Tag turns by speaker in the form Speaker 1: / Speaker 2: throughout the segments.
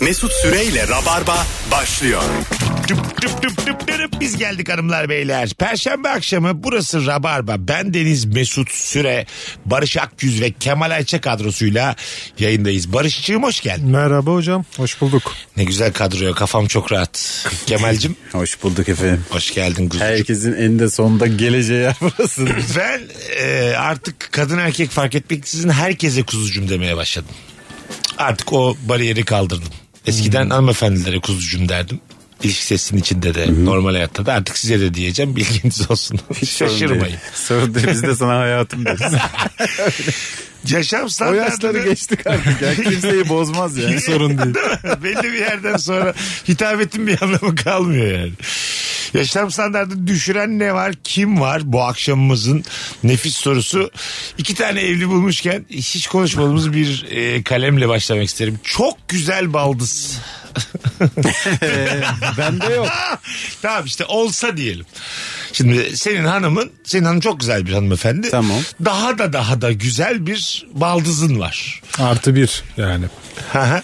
Speaker 1: Mesut Süreyle Rabarba başlıyor.
Speaker 2: Düp düp düp düp dürüp biz geldik hanımlar beyler. Perşembe akşamı burası Rabarba. Ben Deniz Mesut Süre, Barış Akgüz ve Kemal Ayça kadrosuyla yayındayız. Barışçığım hoş geldin.
Speaker 3: Merhaba hocam, hoş bulduk.
Speaker 2: Ne güzel kadroya kafam çok rahat. Kemal'cim
Speaker 4: Hoş bulduk efendim.
Speaker 2: hoş geldin kuzucuğum.
Speaker 4: Herkesin eninde sonunda geleceği yer burası.
Speaker 2: Ben e, artık kadın erkek fark etmeksizin herkese kuzucum demeye başladım. Artık o bariyeri kaldırdım. Eskiden hanımefendilere kuzucum derdim. İlişki sesinin içinde de normal hayatta da artık size de diyeceğim bilginiz olsun. Şaşırmayın.
Speaker 4: Sorun değil. Biz de sana hayatım deriz.
Speaker 2: Yaşam
Speaker 4: o
Speaker 2: standartları...
Speaker 4: yaşları geçtik artık. ya. Kimseyi bozmaz yani.
Speaker 2: Sorun değil. mi? Belli bir yerden sonra hitabetin bir anlamı kalmıyor yani. Yaşam standartını düşüren ne var? Kim var? Bu akşamımızın nefis sorusu. İki tane evli bulmuşken hiç konuşmadığımız bir e, kalemle başlamak isterim. Çok güzel baldız. Ah!
Speaker 4: Bende yok.
Speaker 2: tamam işte olsa diyelim. Şimdi senin hanımın, senin hanım çok güzel bir hanımefendi.
Speaker 4: Tamam.
Speaker 2: Daha da daha da güzel bir baldızın var.
Speaker 3: Artı bir yani.
Speaker 2: Aha.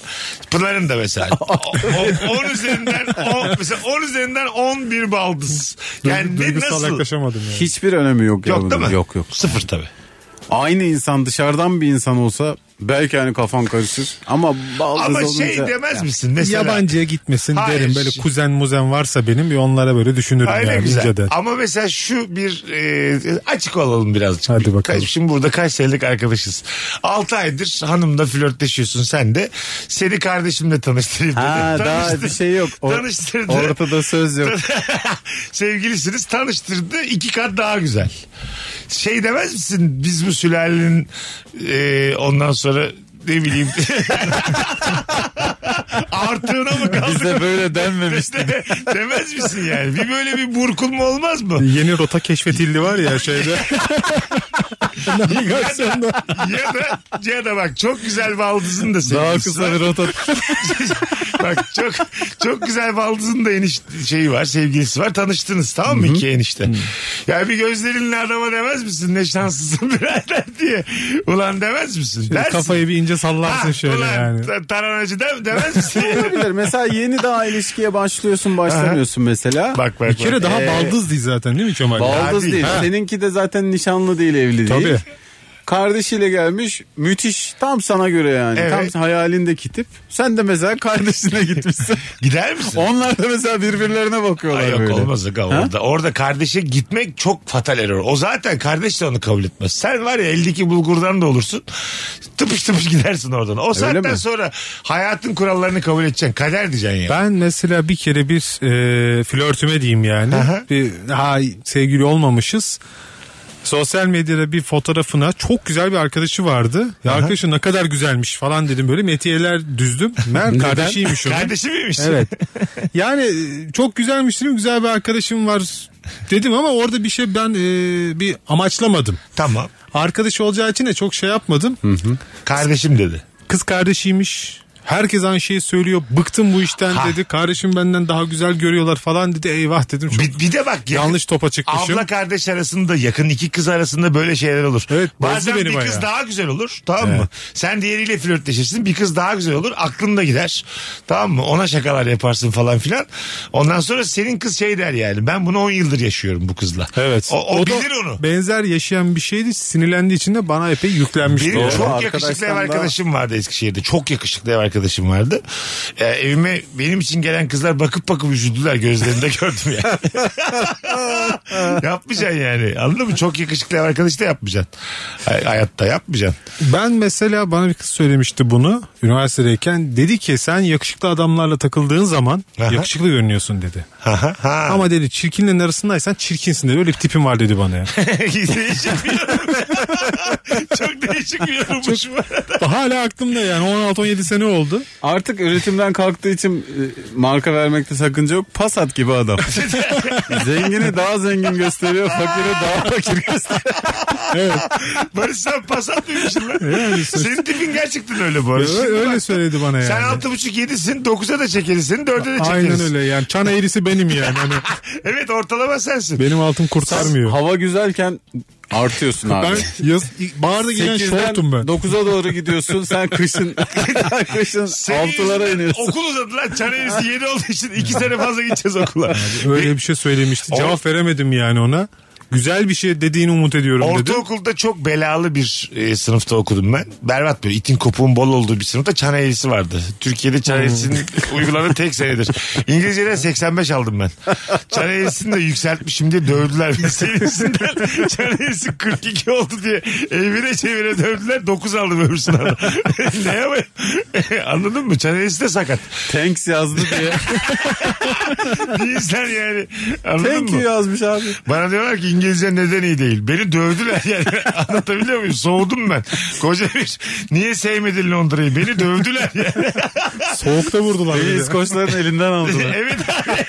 Speaker 2: Pınar'ın da mesela. 10 üzerinden 10 mesela 10 üzerinden 11 baldız. Yani
Speaker 3: Duygu-
Speaker 2: ne
Speaker 3: duygusal
Speaker 2: nasıl?
Speaker 3: yaklaşamadım yani.
Speaker 4: Hiçbir önemi yok. ya
Speaker 2: Yok değil
Speaker 4: bunun.
Speaker 2: mi?
Speaker 4: Yok yok.
Speaker 2: Sıfır tabii.
Speaker 4: Aynı insan dışarıdan bir insan olsa belki hani kafan karışır. Ama baldız
Speaker 2: Ama
Speaker 4: olunca...
Speaker 2: şey demez misin mesela?
Speaker 3: Yabancıya gitmesin
Speaker 2: Hayır.
Speaker 3: derim. Böyle kuzen muzen varsa benim bir onlara böyle düşünürüm
Speaker 2: Aynen
Speaker 3: yani
Speaker 2: güzel.
Speaker 3: inceden.
Speaker 2: Ama mesela şu bir e, açık olalım birazcık.
Speaker 3: Hadi bakalım.
Speaker 2: Kaç- Şimdi burada kaç senelik arkadaşız. 6 aydır hanımla flörtleşiyorsun sen de. Seni kardeşimle tanıştırayım dedi.
Speaker 4: Ha daha
Speaker 2: Tanıştı-
Speaker 4: bir şey yok. O-
Speaker 2: Tanıştırdı.
Speaker 4: Ortada söz yok.
Speaker 2: Sevgilisiniz tanıştırdı iki kat daha güzel. Şey demez misin biz bu sülalenin e, ondan sonra ne bileyim artığına mı kaldık?
Speaker 4: Bize böyle denmemişti.
Speaker 2: De- demez misin yani? Bir böyle bir burkulma olmaz mı?
Speaker 3: Yeni rota keşfetildi var ya şeyde. Navigasyonda.
Speaker 2: ya da ya da bak çok güzel baldızın da sevgilisi.
Speaker 4: Daha kısa bir rota.
Speaker 2: bak çok çok güzel baldızın da eniş şeyi var sevgilisi var tanıştınız tamam mı iki enişte ya bir gözlerinle adama demez misin ne şanslısın birader diye ulan demez misin dersin
Speaker 3: Kafayı bir ince sallarsın
Speaker 2: Ha,
Speaker 3: şöyle
Speaker 2: ulan
Speaker 3: yani.
Speaker 2: ta- taranacı dem- demez misin
Speaker 4: Olabilir. Mesela yeni daha ilişkiye başlıyorsun başlamıyorsun mesela.
Speaker 2: bak bak
Speaker 3: Bir kere
Speaker 2: bak.
Speaker 3: daha
Speaker 4: Ee,
Speaker 3: baldız değil zaten değil mi Kemal?
Speaker 4: Baldız
Speaker 2: değil,
Speaker 4: Hani değil.
Speaker 2: ha.
Speaker 4: Seninki de zaten nişanlı değil evli değil.
Speaker 3: Tabii.
Speaker 4: Kardeşiyle gelmiş müthiş tam sana göre yani
Speaker 2: Evet.
Speaker 4: tam hayalindeki tip. Sen de mesela kardeşine gitmişsin.
Speaker 2: gider misin
Speaker 4: Onlar da mesela birbirlerine bakıyorlar
Speaker 2: Ay yok
Speaker 4: böyle.
Speaker 2: olmaz aga orada. Orada kardeşe gitmek çok fatal error. O zaten kardeş de onu kabul etmez. Sen var ya eldeki bulgurdan da olursun. Tıpış tıpış gidersin oradan. O saatten
Speaker 4: mi?
Speaker 2: sonra hayatın kurallarını kabul edeceksin. Kader diyeceksin yani.
Speaker 3: Ben mesela bir kere bir e, flörtüme diyeyim yani.
Speaker 2: Aha.
Speaker 3: Bir, ha sevgili olmamışız. Sosyal medyada bir fotoğrafına çok güzel bir arkadaşı vardı. Ya arkadaşı ne kadar güzelmiş falan dedim böyle metiyeler düzdüm. Meğer kardeşiymiş onun.
Speaker 2: Kardeşi miymiş?
Speaker 3: Evet. Yani e, çok güzelmiş değil mi? Güzel bir arkadaşım var dedim ama orada bir şey ben e, bir amaçlamadım.
Speaker 2: Tamam.
Speaker 3: Arkadaş olacağı için de çok şey yapmadım.
Speaker 2: Kardeşim dedi.
Speaker 3: Kız kardeşiymiş. Herkes aynı şeyi söylüyor. Bıktım bu işten
Speaker 2: Ha.
Speaker 3: dedi. Kardeşim benden daha güzel görüyorlar falan dedi. Eyvah dedim. Çok
Speaker 2: Bir, bir de bak yakın-
Speaker 3: yanlış topa çıkmışım.
Speaker 2: Abla kardeş arasında yakın iki kız arasında böyle şeyler olur.
Speaker 3: Evet, bozdu
Speaker 2: Bazen
Speaker 3: beni
Speaker 2: bir
Speaker 3: bayağı.
Speaker 2: kız daha güzel olur tamam mı? Sen diğeriyle flörtleşirsin bir kız daha güzel olur aklın da gider tamam mı? Ona şakalar yaparsın falan filan. Ondan sonra senin kız şey der yani ben bunu 10 yıldır yaşıyorum bu kızla.
Speaker 3: Evet.
Speaker 2: O, o,
Speaker 3: da
Speaker 2: bilir onu.
Speaker 3: Benzer yaşayan bir şeydi. Sinirlendiği için de bana epey yüklenmişti.
Speaker 2: Benim
Speaker 3: o.
Speaker 2: çok
Speaker 4: Arkadaştan
Speaker 2: yakışıklı ev
Speaker 4: daha-
Speaker 2: arkadaşım vardı Eskişehir'de. Çok yakışıklı ev arkadaşım vardı. Ee, evime benim için gelen kızlar bakıp bakıp üzüldüler gözlerinde gördüm ya. yapmayacaksın yani. Anladın mı? Çok yakışıklı ev arkadaşı da yapmayacaksın. Hay- hayatta yapmayacaksın.
Speaker 3: Ben mesela bana bir kız söylemişti bunu üniversitedeyken. Dedi ki sen yakışıklı adamlarla takıldığın zaman
Speaker 2: Aha.
Speaker 3: yakışıklı görünüyorsun dedi.
Speaker 2: Ha, ha.
Speaker 3: Ama dedi çirkinlerin arasındaysan çirkinsin dedi. Öyle bir tipim var dedi bana ya.
Speaker 2: değişik bir yorum. Çok değişik bir yorummuş bu arada.
Speaker 3: Hala aklımda yani 16-17 sene oldu. oldu?
Speaker 4: Artık üretimden kalktığı için e, marka vermekte sakınca yok. Passat gibi adam. Zengini daha zengin gösteriyor. Fakiri daha fakir gösteriyor.
Speaker 2: Barış sen pas atmıyormuşsun lan. Senin tipin gerçekten öyle Barış.
Speaker 3: Öyle, öyle söyledi bana yani.
Speaker 2: Sen altı buçuk yedisin, dokuza da çekeriz seni, dörde de çekeriz.
Speaker 3: Aynen öyle yani. Çan eğrisi benim yani. Hani
Speaker 2: Evet ortalama sensin.
Speaker 3: benim altım kurtarmıyor.
Speaker 4: Hava güzelken artıyorsun abi.
Speaker 3: Ben yaz, baharda gelen şortum ben.
Speaker 4: 9'a doğru gidiyorsun. Sen kışın kışın
Speaker 2: Senin
Speaker 4: altılara
Speaker 2: yüzünden
Speaker 4: iniyorsun.
Speaker 2: Okul uzadı lan. Çan eğrisi yeni olduğu için iki sene fazla gideceğiz okula.
Speaker 3: Öyle bir şey söylemişti. Cevap veremedim yani ona. Güzel bir şey dediğini umut ediyorum dedi.
Speaker 2: Ortaokulda çok belalı bir e, sınıfta okudum ben. Berbat böyle itin kopuğun bol olduğu bir sınıfta çan eğrisi vardı. Türkiye'de
Speaker 4: Hmm.
Speaker 2: çan eğrisinin uygulanan tek senedir. İngilizceden 85 aldım ben. Çan eğrisini de yükseltmişim diye dövdüler beni. Senin yüzünden çan eğrisi 42 oldu diye evine çevire dövdüler. 9 aldım öbür sınavda. ne yapayım? Anladın mı? Çan eğrisi de sakat.
Speaker 4: Thanks yazdı diye.
Speaker 2: Bir insan yani. Anladın
Speaker 4: Thank
Speaker 2: mı?
Speaker 4: you yazmış abi.
Speaker 2: Bana diyorlar ki İngilizce neden iyi değil. Beni dövdüler yani. Anlatabiliyor muyum? Soğudum ben. Koca bir niye sevmedin Londra'yı? Beni dövdüler yani.
Speaker 3: Soğukta vurdular.
Speaker 4: Beni
Speaker 3: beni.
Speaker 4: İskoçların elinden aldılar.
Speaker 2: evet abi.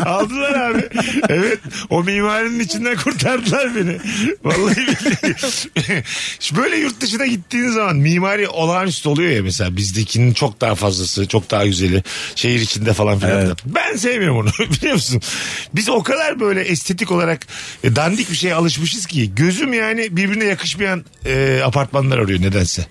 Speaker 2: Aldılar abi. Evet. O mimarinin içinden kurtardılar beni. Vallahi billahi. Şu Böyle yurt dışına gittiğin zaman mimari olağanüstü oluyor ya mesela bizdekinin çok daha fazlası, çok daha güzeli. Şehir içinde falan filan. da. Ben sevmiyorum onu biliyor musun? Biz o kadar böyle estetik olarak e, dandik bir şeye alışmışız ki gözüm yani birbirine yakışmayan e, apartmanlar arıyor nedense.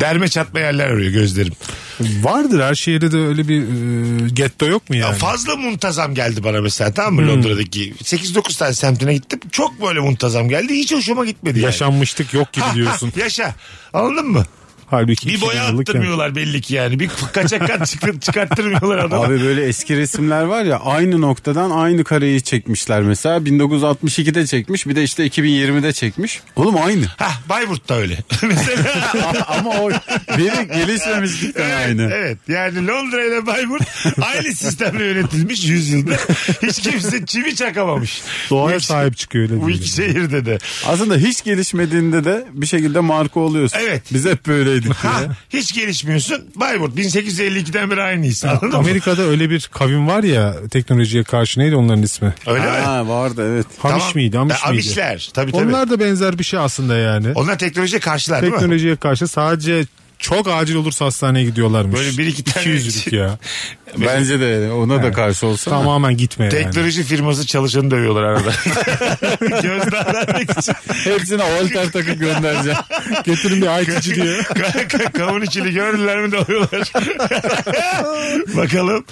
Speaker 2: Derme çatma yerler arıyor gözlerim.
Speaker 3: Vardır her şehirde de öyle bir e, getto yok mu yani? Hmm.
Speaker 2: Fazla muntazam geldi bana mesela tamam mı Londra'daki 8-9 tane semtine gittim. Çok böyle muntazam geldi. Hiç hoşuma gitmedi yani.
Speaker 3: Yaşanmışlık yok gibi
Speaker 2: Ha,
Speaker 3: diyorsun.
Speaker 2: ha, yaşa. Anladın mı?
Speaker 3: Halbuki
Speaker 2: Bir
Speaker 3: iki
Speaker 2: boya
Speaker 3: yıllık yani.
Speaker 2: attırmıyorlar belli ki yani. Bir kaçak kat çıkıp çıkarttırmıyorlar adama.
Speaker 4: Abi böyle eski resimler var ya aynı noktadan aynı kareyi çekmişler mesela 1962'de çekmiş bir de işte 2020'de çekmiş. Oğlum aynı.
Speaker 2: Hah Bayburt'ta öyle. Mesela
Speaker 4: Ama o biri gelişmemişlikten aynı.
Speaker 2: evet yani Londra ile Bayburt aynı sistemle yönetilmiş yüzyılda. Hiç kimse çivi çakamamış. Bu
Speaker 3: Doğaya
Speaker 2: iki-
Speaker 3: sahip çıkıyor öyle
Speaker 2: Bu
Speaker 3: diyelim.
Speaker 2: iki şehirde de.
Speaker 4: Aslında hiç gelişmediğinde de bir şekilde marka oluyorsun.
Speaker 2: Evet.
Speaker 4: Biz hep böyleydik
Speaker 2: Ha,
Speaker 3: Ee?
Speaker 4: diye.
Speaker 2: hiç gelişmiyorsun. Bayburt 1852'den beri aynıyız. Anladın mı?
Speaker 3: Amerika'da öyle bir kavim var ya teknolojiye karşı neydi onların ismi?
Speaker 2: Öyle mi?
Speaker 4: Ha, vardı evet.
Speaker 3: Hamiş
Speaker 2: Tamam.
Speaker 3: miydi? Hamiş
Speaker 2: Ha,
Speaker 3: miydi?
Speaker 2: Amişler. Tabii tabii. Onlar,
Speaker 3: Onlar da benzer bir şey aslında yani.
Speaker 2: teknolojiye karşılar değil mi?
Speaker 3: Teknolojiye karşı sadece çok acil olursa hastaneye gidiyorlarmış.
Speaker 2: Böyle bir iki tane- şey-
Speaker 3: 200'lük ya.
Speaker 4: Bence de yani, ona da karşı olsa.
Speaker 3: Tamamen gitme yani.
Speaker 2: Teknoloji firması çalışanı dövüyorlar arada. Gözden vermek için.
Speaker 4: Hepsine holter takıp göndereceğim.
Speaker 3: Getirin bir IT'ci diye.
Speaker 2: Ka- ka- Kavun içini gördüler mi dövüyorlar. Bakalım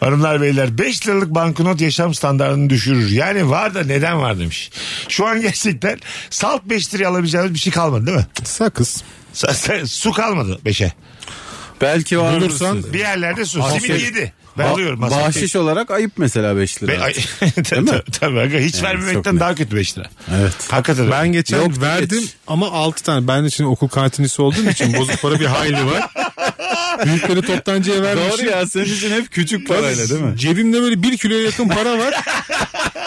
Speaker 2: hanımlar beyler 5 liralık banknot yaşam standartını düşürür. Yani var da neden var demiş. Şu an gerçekten salt 5 liraya alabileceğimiz bir şey kalmadı değil mi?
Speaker 3: Sakız.
Speaker 2: Sa- sa- Su kalmadı 5'e.
Speaker 4: Belki var
Speaker 3: Bulursan-
Speaker 4: mısın?
Speaker 2: Bir yerlerde su.
Speaker 4: Hasret-
Speaker 2: Simit 7. Ben alıyorum. hasret.
Speaker 4: Bahşiş olarak ayıp mesela 5 lira.
Speaker 2: Be- Ay, tabii, tabii, aga, hiç
Speaker 4: çok
Speaker 2: vermemekten
Speaker 4: net.
Speaker 2: daha kötü 5 lira.
Speaker 4: Evet.
Speaker 2: Hakikaten.
Speaker 3: Ben geçen
Speaker 4: Yok,
Speaker 3: verdim
Speaker 4: geç.
Speaker 3: ama 6 tane. Ben için okul kantinisi olduğum için bozuk para bir hayli var. Büyükleri toptancıya vermişim.
Speaker 4: Doğru ya senin için hep küçük parayla değil mi?
Speaker 3: Cebimde böyle bir kiloya yakın para var.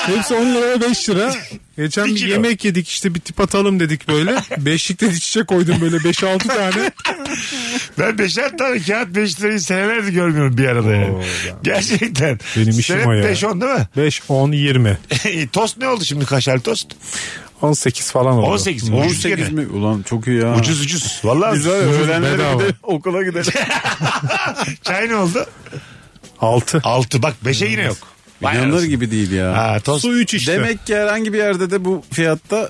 Speaker 3: Hepsi 10 liraya 5 lira. Geçen
Speaker 2: Bir
Speaker 3: bir
Speaker 2: kilo.
Speaker 3: yemek yedik işte bir tip atalım dedik böyle. Beşlikte çiçek koydum böyle 5-6 tane.
Speaker 2: Ben beşer tane kağıt beş lirayı senelerdir görmüyorum bir arada yani. Gerçekten.
Speaker 3: Benim işim
Speaker 2: Senet
Speaker 3: o ya.
Speaker 2: beş on değil mi?
Speaker 3: 5, 10, 20.
Speaker 2: tost ne oldu şimdi kaşarlı tost?
Speaker 3: 18 falan oldu.
Speaker 2: 18. mi? Ucuz
Speaker 4: 18
Speaker 2: gene.
Speaker 4: mi? Ulan çok iyi ya.
Speaker 2: Ucuz ucuz. Valla
Speaker 4: Biz var ya,
Speaker 3: Ucuz,
Speaker 4: öğlenlere
Speaker 3: bedava.
Speaker 4: gidelim, okula gidelim.
Speaker 2: çay ne oldu?
Speaker 3: 6.
Speaker 2: Altı bak beşe yine yok. Vay
Speaker 4: İnanılır
Speaker 2: arasın.
Speaker 4: gibi değil ya.
Speaker 2: Ha, tost.
Speaker 3: Su 3 işte.
Speaker 4: Demek ki herhangi bir yerde de bu fiyatta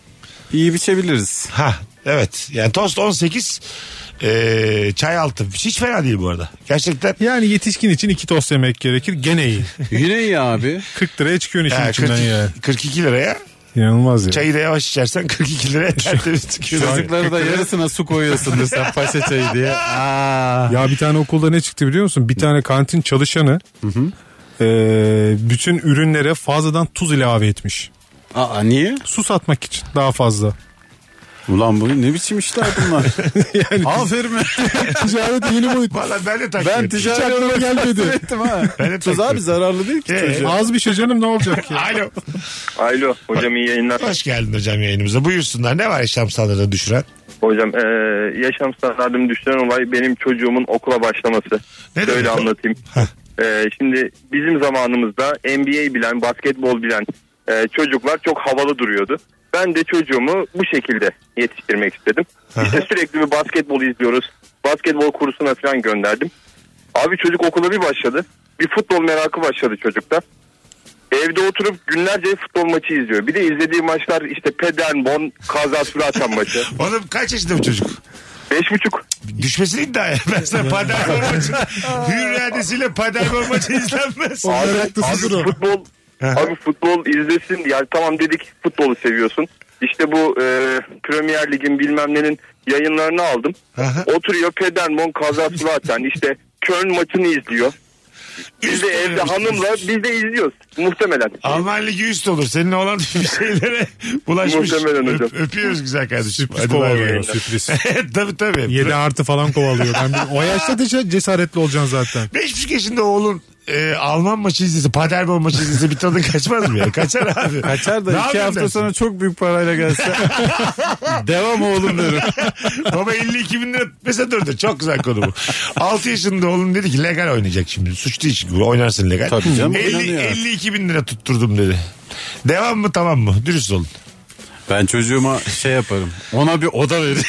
Speaker 4: iyi biçebiliriz.
Speaker 2: Ha evet. Yani tost 18 ee, çay altı. Hiç fena değil bu arada. Gerçekten.
Speaker 3: Yani yetişkin için iki tost yemek gerekir. Gene iyi.
Speaker 4: Yine iyi abi.
Speaker 3: 40 liraya çıkıyorsun işin
Speaker 2: Ha,
Speaker 3: içinden
Speaker 2: 42,
Speaker 3: ya.
Speaker 2: 42 liraya.
Speaker 3: İnanılmaz ya.
Speaker 2: Çayı da yavaş içersen 42 liraya tertemiz çıkıyor.
Speaker 4: Çocukları da yarısına su koyuyorsundur sen paşa çayı diye. Aa.
Speaker 3: Ya bir tane okulda ne çıktı biliyor musun? Bir tane kantin çalışanı eee, bütün ürünlere fazladan tuz ilave etmiş.
Speaker 4: Aa niye?
Speaker 3: Su satmak için daha fazla.
Speaker 4: Ulan bugün ne biçim işler bunlar. yani Aferin be.
Speaker 3: Ticaret yeni boyut.
Speaker 2: Valla ben de takip
Speaker 4: Ben
Speaker 2: ettim.
Speaker 4: ticaret
Speaker 3: aklıma
Speaker 4: olarak
Speaker 3: gelmedi.
Speaker 4: takip ettim ha.
Speaker 2: Ben de
Speaker 4: Tuz
Speaker 2: takip
Speaker 4: abi zararlı değil ki
Speaker 2: Ee?
Speaker 4: çocuğa.
Speaker 3: Az bir şey canım ne olacak ya.
Speaker 2: Alo.
Speaker 5: Alo hocam iyi yayınlar.
Speaker 2: Hoş geldin hocam yayınımıza. Buyursunlar. Ne var yaşam standartını düşüren?
Speaker 5: Hocam e, yaşam standartımı düşüren olay benim çocuğumun okula başlaması.
Speaker 2: Ne
Speaker 5: Şöyle
Speaker 2: demek o?
Speaker 5: anlatayım. E, şimdi bizim zamanımızda NBA bilen, basketbol bilen e, çocuklar çok havalı duruyordu. Ben de çocuğumu bu şekilde yetiştirmek istedim. İşte sürekli bir basketbol izliyoruz. Basketbol kursuna falan gönderdim. Abi çocuk okula bir başladı. Bir futbol merakı başladı çocukta. Evde oturup günlerce futbol maçı izliyor. Bir de izlediği maçlar işte Peden, Bon, Kazasülatan maçı.
Speaker 2: Oğlum kaç yaşında bu çocuk?
Speaker 5: Beş buçuk.
Speaker 2: Düşmesini iddia ya. Ben sana Paderborn maçı. Hür iradesiyle Paderborn maçı izlenmez.
Speaker 5: Abi,
Speaker 3: haklısınız o.
Speaker 5: abi futbol, abi futbol izlesin. Yani tamam dedik futbolu seviyorsun. İşte bu e, Premier Lig'in bilmem nenin yayınlarını aldım.
Speaker 2: Aha.
Speaker 5: Oturuyor Pedermon Kazasülatan işte Köln maçını izliyor. Biz de
Speaker 2: Üst
Speaker 5: evde
Speaker 2: oynamış.
Speaker 5: hanımla biz de izliyoruz muhtemelen.
Speaker 2: Alman Ligi üst olur. Senin olan bir şeylere bulaşmış.
Speaker 5: Muhtemelen
Speaker 2: Öp-
Speaker 5: hocam.
Speaker 2: öpüyoruz güzel kardeşim.
Speaker 3: Sürpriz
Speaker 2: Hadi bay
Speaker 3: kovalıyor
Speaker 2: bay.
Speaker 3: sürpriz.
Speaker 2: tabii tabii.
Speaker 3: 7 artı falan kovalıyor. Ben bir- o yaşta da cesaretli olacaksın zaten.
Speaker 2: Beş buçuk yaşında oğlun e, Alman maçı izlese, Paderborn maçı izlese bir tadın kaçmaz mı ya? Kaçar abi.
Speaker 4: Kaçar
Speaker 2: Ne
Speaker 4: da iki
Speaker 2: yapayım
Speaker 4: hafta
Speaker 2: dersin?
Speaker 4: sonra çok büyük parayla gelse. Devam oğlum derim.
Speaker 2: Baba 52 bin lira mesela durdu. Çok güzel konu bu. 6 yaşında oğlum dedi ki legal oynayacak şimdi. Suç değil çünkü oynarsın legal.
Speaker 4: Tabii canım,
Speaker 2: 50,
Speaker 4: oynanıyor.
Speaker 2: 52 bin lira tutturdum dedi. Devam mı tamam mı? Dürüst olun.
Speaker 4: Ben çocuğuma şey yaparım. Ona bir oda veririm.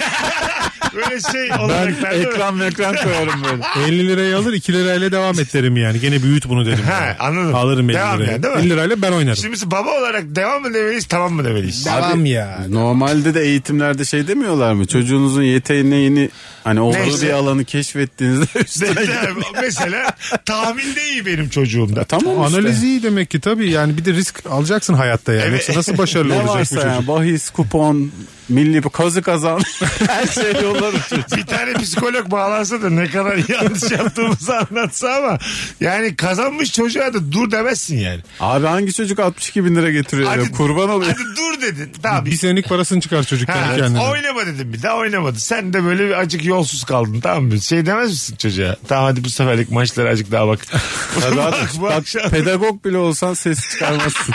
Speaker 2: Böyle şey olarak
Speaker 4: ekran ekran koyarım böyle.
Speaker 3: 50 lirayı alır 2 lirayla devam et derim yani. Gene büyüt bunu derim.
Speaker 2: Ha,
Speaker 3: yani.
Speaker 2: anladım.
Speaker 3: Alırım 50
Speaker 2: Devam
Speaker 3: lirayı.
Speaker 2: yani, değil mi?
Speaker 3: 50 lirayla ben oynarım.
Speaker 2: Şimdi biz baba olarak devam mı demeliyiz tamam mı demeliyiz?
Speaker 3: Devam ya.
Speaker 4: Ee, Normalde de eğitimlerde şey demiyorlar mı? Çocuğunuzun yeteneğini hani olduğu
Speaker 2: Neyse.
Speaker 4: bir alanı keşfettiğinizde üstüne gidin.
Speaker 2: Mesela- mesela tahmilde iyi benim çocuğumda.
Speaker 4: Tamam işte.
Speaker 3: Analiz iyi demek ki tabii yani bir de risk alacaksın hayatta yani.
Speaker 2: Evet.
Speaker 3: Yoksa nasıl başarılı
Speaker 4: Ne
Speaker 3: olacak bu
Speaker 4: varsa
Speaker 3: çocuk?
Speaker 4: yani bahis, kupon, milli bu kazı kazan her şey yollar uçuyor.
Speaker 2: bir tane psikolog bağlansa da ne kadar yanlış yaptığımızı anlatsa ama yani kazanmış çocuğa da dur demezsin yani.
Speaker 4: Abi hangi çocuk 62 bin lira getiriyor?
Speaker 2: Hadi-
Speaker 4: ya? kurban oluyor.
Speaker 2: Hadi dur dedin. Tamam.
Speaker 3: Bir senelik parasını çıkar çocuk
Speaker 2: Ha,
Speaker 3: kendi kendine.
Speaker 2: oynama dedim bir daha oynamadı. Sen de böyle bir acık yolsuz kaldın tamam mı? Şey demez misin çocuğa? Tamam hadi bu seferlik maçlara acık daha bak.
Speaker 4: Bak,
Speaker 2: bak bu
Speaker 4: bak,
Speaker 2: akşam.
Speaker 4: pedagog bile olsan ses çıkarmazsın.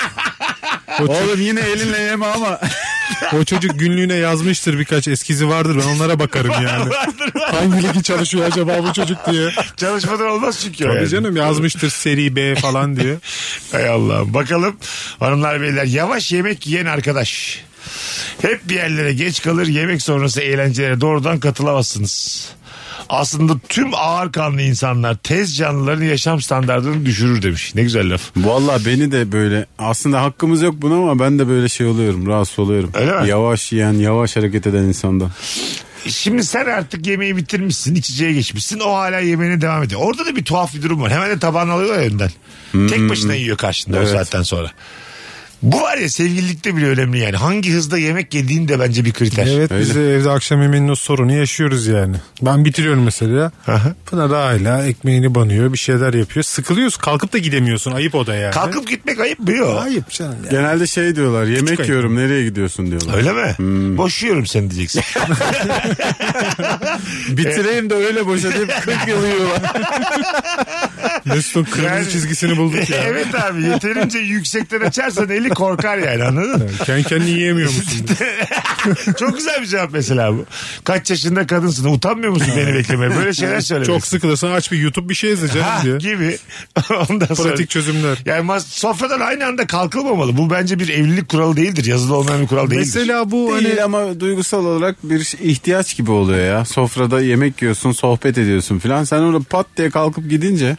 Speaker 4: Oğlum yine elinle yeme ama.
Speaker 3: O çocuk günlüğüne yazmıştır birkaç eskizi vardır ben onlara bakarım yani.
Speaker 2: Vardır, var.
Speaker 3: Hangi ligi çalışıyor acaba bu çocuk diye.
Speaker 2: Çalışmadan olmaz çünkü. o
Speaker 3: Tabii
Speaker 2: yani.
Speaker 3: canım yazmıştır seri B falan diye.
Speaker 2: Hay Allah. Bakalım hanımlar beyler yavaş yemek yiyen arkadaş. Hep bir yerlere geç kalır yemek sonrası eğlencelere doğrudan katılamazsınız. Aslında tüm ağır kanlı insanlar tez canlıların yaşam standartını düşürür demiş. Ne güzel laf.
Speaker 4: Valla beni de böyle aslında hakkımız yok buna ama ben de böyle şey oluyorum rahatsız oluyorum.
Speaker 2: Öyle mi?
Speaker 4: Yavaş yiyen yavaş hareket eden insandan.
Speaker 2: Şimdi sen artık yemeği bitirmişsin, içeceğe geçmişsin. O hala yemeğine devam ediyor. Orada da bir tuhaf bir durum var. Hemen de tabağını alıyorlar ya önden.
Speaker 3: Hmm.
Speaker 2: Tek başına yiyor karşında o
Speaker 4: Evet.
Speaker 2: saatten sonra. Bu var ya sevgililikte bile önemli yani. Hangi hızda yemek yediğin de bence bir kriter.
Speaker 3: Evet biz de evde akşam yemeğinin o sorunu yaşıyoruz yani. Ben bitiriyorum mesela.
Speaker 2: Aha.
Speaker 3: Pınar hala ekmeğini banıyor bir şeyler yapıyor. Sıkılıyorsun kalkıp da gidemiyorsun ayıp o da yani.
Speaker 2: Kalkıp gitmek ayıp mı yok?
Speaker 3: Ayıp canım ya.
Speaker 4: Genelde şey diyorlar yemek
Speaker 3: ayıp.
Speaker 4: yiyorum nereye gidiyorsun diyorlar.
Speaker 2: Öyle mi?
Speaker 3: Hmm.
Speaker 2: Boşuyorum seni diyeceksin.
Speaker 4: Bitireyim de öyle boşa deyip 40 yıl yiyorlar.
Speaker 3: Mesut'un kırmızı
Speaker 2: Yani-
Speaker 3: çizgisini bulduk ya.
Speaker 2: evet abi yeterince yüksekten açarsan eli korkar yani anladın mı?
Speaker 3: Kendi kendini yiyemiyor musun?
Speaker 2: Çok güzel bir cevap mesela bu. Kaç yaşında kadınsın utanmıyor musun beni beklemeye? Böyle şeyler söylemek.
Speaker 3: Çok sıkılırsan aç bir YouTube bir şey izle
Speaker 2: ha,
Speaker 3: canım diye.
Speaker 2: gibi. Ondan sonra.
Speaker 3: Pratik çözümler.
Speaker 2: Yani mas- sofradan aynı anda kalkılmamalı. Bu bence bir evlilik kuralı değildir. Yazılı olmayan bir kural değildir.
Speaker 3: Mesela bu
Speaker 4: Değil
Speaker 3: hani
Speaker 4: ama duygusal olarak bir şey- ihtiyaç gibi oluyor ya. Sofrada yemek yiyorsun, sohbet ediyorsun filan. Sen orada pat diye kalkıp gidince.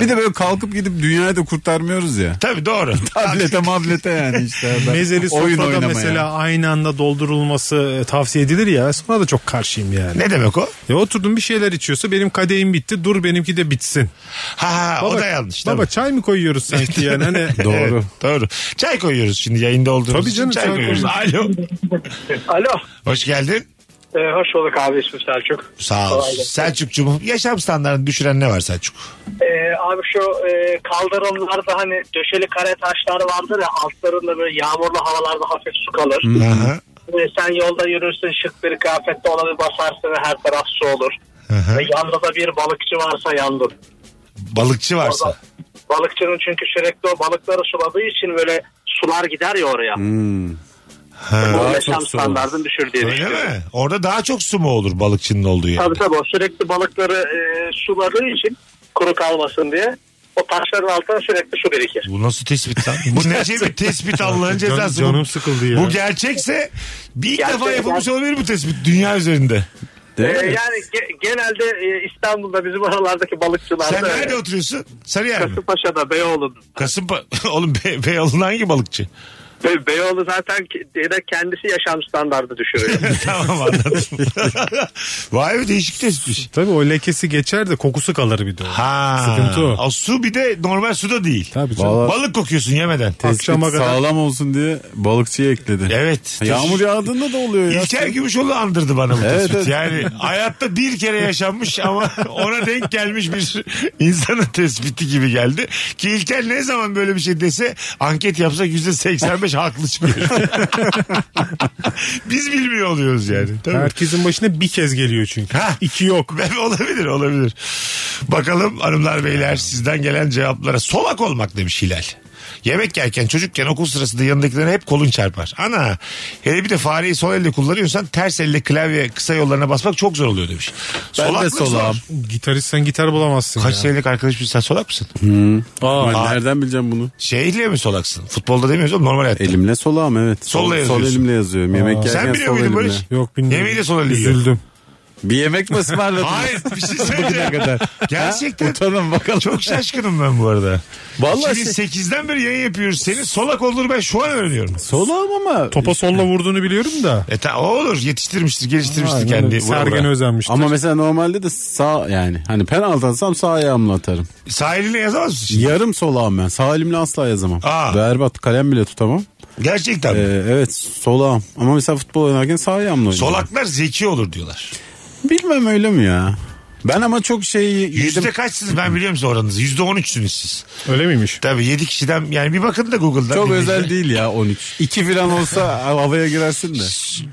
Speaker 4: Bir de böyle kalkıp gidip dünyayı da kurtarmıyoruz ya.
Speaker 2: Tabii doğru.
Speaker 4: Tablete mablete yani işte. Ben
Speaker 3: mezeli
Speaker 4: oyun
Speaker 3: sofrada
Speaker 4: oynamaya.
Speaker 3: mesela aynı anda doldurulması e, tavsiye edilir ya. Sonra da çok karşıyım yani.
Speaker 2: ne demek o?
Speaker 3: Ya oturdum bir şeyler içiyorsa benim kadehim bitti. Dur benimki de bitsin.
Speaker 2: Ha, o da yanlış.
Speaker 3: Baba
Speaker 2: Baba.
Speaker 3: çay mı koyuyoruz sanki yani? Hani
Speaker 4: Doğru.
Speaker 2: Doğru. Çay koyuyoruz şimdi yayında olduğumuz
Speaker 3: Tabii
Speaker 2: için
Speaker 3: canım,
Speaker 2: çay
Speaker 3: çay
Speaker 2: koyuyoruz. Alo.
Speaker 6: Alo.
Speaker 2: Hoş geldin.
Speaker 6: Ee, hoş bulduk abi ismim Selçuk.
Speaker 2: Sağ ol.
Speaker 6: Kolay gelsin.
Speaker 2: Selçukcuğum yaşam standartını düşüren ne var Selçuk?
Speaker 6: Ee, abi şu e, kaldırımlarda hani döşeli kare taşlar vardır ya altlarında böyle yağmurlu havalarda hafif su kalır.
Speaker 2: Aha.
Speaker 6: e, sen yolda yürürsün şık bir kıyafette ona bir basarsın ve her taraf su olur. Ve yanında da bir balıkçı varsa yandın.
Speaker 2: Balıkçı varsa.
Speaker 6: Balıkçının çünkü sürekli o balıkları suladığı için böyle sular gider ya oraya.
Speaker 2: Ha.
Speaker 6: O
Speaker 4: Daha
Speaker 6: yaşam
Speaker 4: çok su olur.
Speaker 6: standartını düşür diye
Speaker 2: Öyle
Speaker 6: düşünüyorum.
Speaker 2: mi? Orada daha çok su mu olur balıkçının olduğu yerde?
Speaker 6: Tabii tabii o sürekli balıkları e, suladığı için kuru kalmasın diye o taşların altına sürekli su birikir. E,
Speaker 2: Bu nasıl tespit lan? Bu ne şey bir tespit Allah'ın cezası.
Speaker 3: Can-
Speaker 2: Bu-
Speaker 3: canım sıkıldı ya.
Speaker 2: Bu gerçekse bir ilk
Speaker 6: Gerçek-
Speaker 2: defa yapılmış olabilir bu tespit dünya üzerinde.
Speaker 6: E,
Speaker 4: Değil mi?
Speaker 6: yani ge- genelde e, İstanbul'da bizim oralardaki balıkçılar
Speaker 2: Sen
Speaker 6: da
Speaker 2: nerede oturuyorsun? Sarıyer mi?
Speaker 6: Kasımpaşa'da Beyoğlu'nda.
Speaker 2: Kasımpa... Oğlum Be Beyoğlu'nun hangi balıkçı?
Speaker 6: Be- Beyoğlu zaten ki- de kendisi yaşam standartı düşürüyor.
Speaker 2: tamam anladım. Vay be değişik tespit.
Speaker 3: Tabii o lekesi geçer de kokusu kalır bir de. o.
Speaker 2: Ha.
Speaker 3: Sıkıntı o.
Speaker 2: su bir de normal su da değil.
Speaker 3: Tabii canım.
Speaker 4: Vallahi
Speaker 2: Balık kokuyorsun yemeden.
Speaker 3: Akşama kadar.
Speaker 4: sağlam olsun diye balıkçıya ekledi.
Speaker 2: Evet.
Speaker 4: Yağmur yağdığında da oluyor ya.
Speaker 2: İlker Gümüşoğlu andırdı bana bu
Speaker 4: Evet,
Speaker 2: tespit.
Speaker 4: evet.
Speaker 2: Yani hayatta bir kere yaşanmış ama ona denk gelmiş bir insanın tespiti gibi geldi. Ki İlker ne zaman böyle bir şey dese anket yapsak yüzde 85 haklı çıkıyor. Biz bilmiyor oluyoruz yani. Tabii.
Speaker 3: Herkesin başına bir kez geliyor çünkü.
Speaker 2: Ha.
Speaker 3: İki yok.
Speaker 2: olabilir olabilir. Bakalım hanımlar beyler sizden gelen cevaplara. Solak olmak demiş Hilal. Yemek yerken çocukken okul sırasında yanındakilerine hep kolun çarpar. Ana hele bir de fareyi sol elle kullanıyorsan ters elle klavye kısa yollarına basmak çok zor oluyor demiş.
Speaker 4: Ben de
Speaker 2: Solaklık zor.
Speaker 4: solağım.
Speaker 3: Gitaristsen gitar bulamazsın
Speaker 2: Kaç
Speaker 3: ya.
Speaker 2: senelik arkadaşım sen solak mısın?
Speaker 4: Aa, ben nereden bileceğim bunu?
Speaker 2: Şeyle mi solaksın? Futbolda demiyoruz oğlum normal hayatta.
Speaker 4: Elimle solağım evet.
Speaker 2: Solla
Speaker 4: Sol- Sol
Speaker 2: yazıyorsun.
Speaker 4: elimle yazıyorum. Yemek yerken
Speaker 2: Sen biliyor
Speaker 4: sol
Speaker 2: muydun
Speaker 4: elimle.
Speaker 2: Barış?
Speaker 3: Yok bilmiyorum.
Speaker 2: Yemeği de sol elle yiyor.
Speaker 3: Üzüldüm.
Speaker 4: Bir yemek mi ısmarladın?
Speaker 2: Hayır bir şey söyleyeceğim. Gerçekten
Speaker 4: Utanın bakalım.
Speaker 2: çok şaşkınım ben bu arada.
Speaker 4: Vallahi şey-
Speaker 2: 2008'den beri yayın yapıyoruz. Senin solak olduğunu ben şu an öğreniyorum.
Speaker 4: Solağım ama.
Speaker 3: Topa solla vurduğunu biliyorum da.
Speaker 2: E ta, o olur yetiştirmiştir geliştirmiştir
Speaker 3: Aynen
Speaker 2: kendi.
Speaker 3: öyle. Sergen
Speaker 2: Vura vura.
Speaker 3: özenmiştir.
Speaker 4: Ama mesela normalde de sağ yani hani penaltı atsam sağ ayağımla atarım.
Speaker 2: Sağ eline yazamaz mısın? şimdi?
Speaker 4: Yarım solağım ben. Sağ elimle asla yazamam.
Speaker 2: Aa.
Speaker 4: Berbat kalem bile tutamam.
Speaker 2: Gerçekten mi?
Speaker 4: Ee, evet solağım. Ama mesela futbol oynarken sağ ayağımla oynuyorum.
Speaker 2: Solaklar zeki olur diyorlar.
Speaker 4: Bilmem öyle mi ya? Ben ama çok şey yedim.
Speaker 2: Yüzde kaçsınız ben biliyor musun oranınızı? Yüzde on üçsünüz siz.
Speaker 3: Öyle miymiş?
Speaker 2: Tabii yedi kişiden yani bir bakın da Google'dan.
Speaker 4: Çok
Speaker 2: dinleyiciler.
Speaker 4: özel değil ya 13. 2 falan olsa havaya girersin de.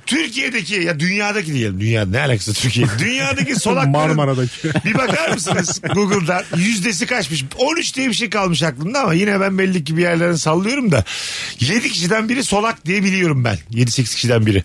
Speaker 2: Türkiye'deki ya dünyadaki diyelim dünya ne alakası Türkiye? Dünyadaki solakların
Speaker 3: Marmara'daki.
Speaker 2: bir bakar mısınız Google'dan yüzdesi kaçmış? 13 diye bir şey kalmış aklımda ama yine ben belli ki bir yerlerden sallıyorum da 7 kişiden biri solak diye biliyorum ben. 7-8 kişiden biri.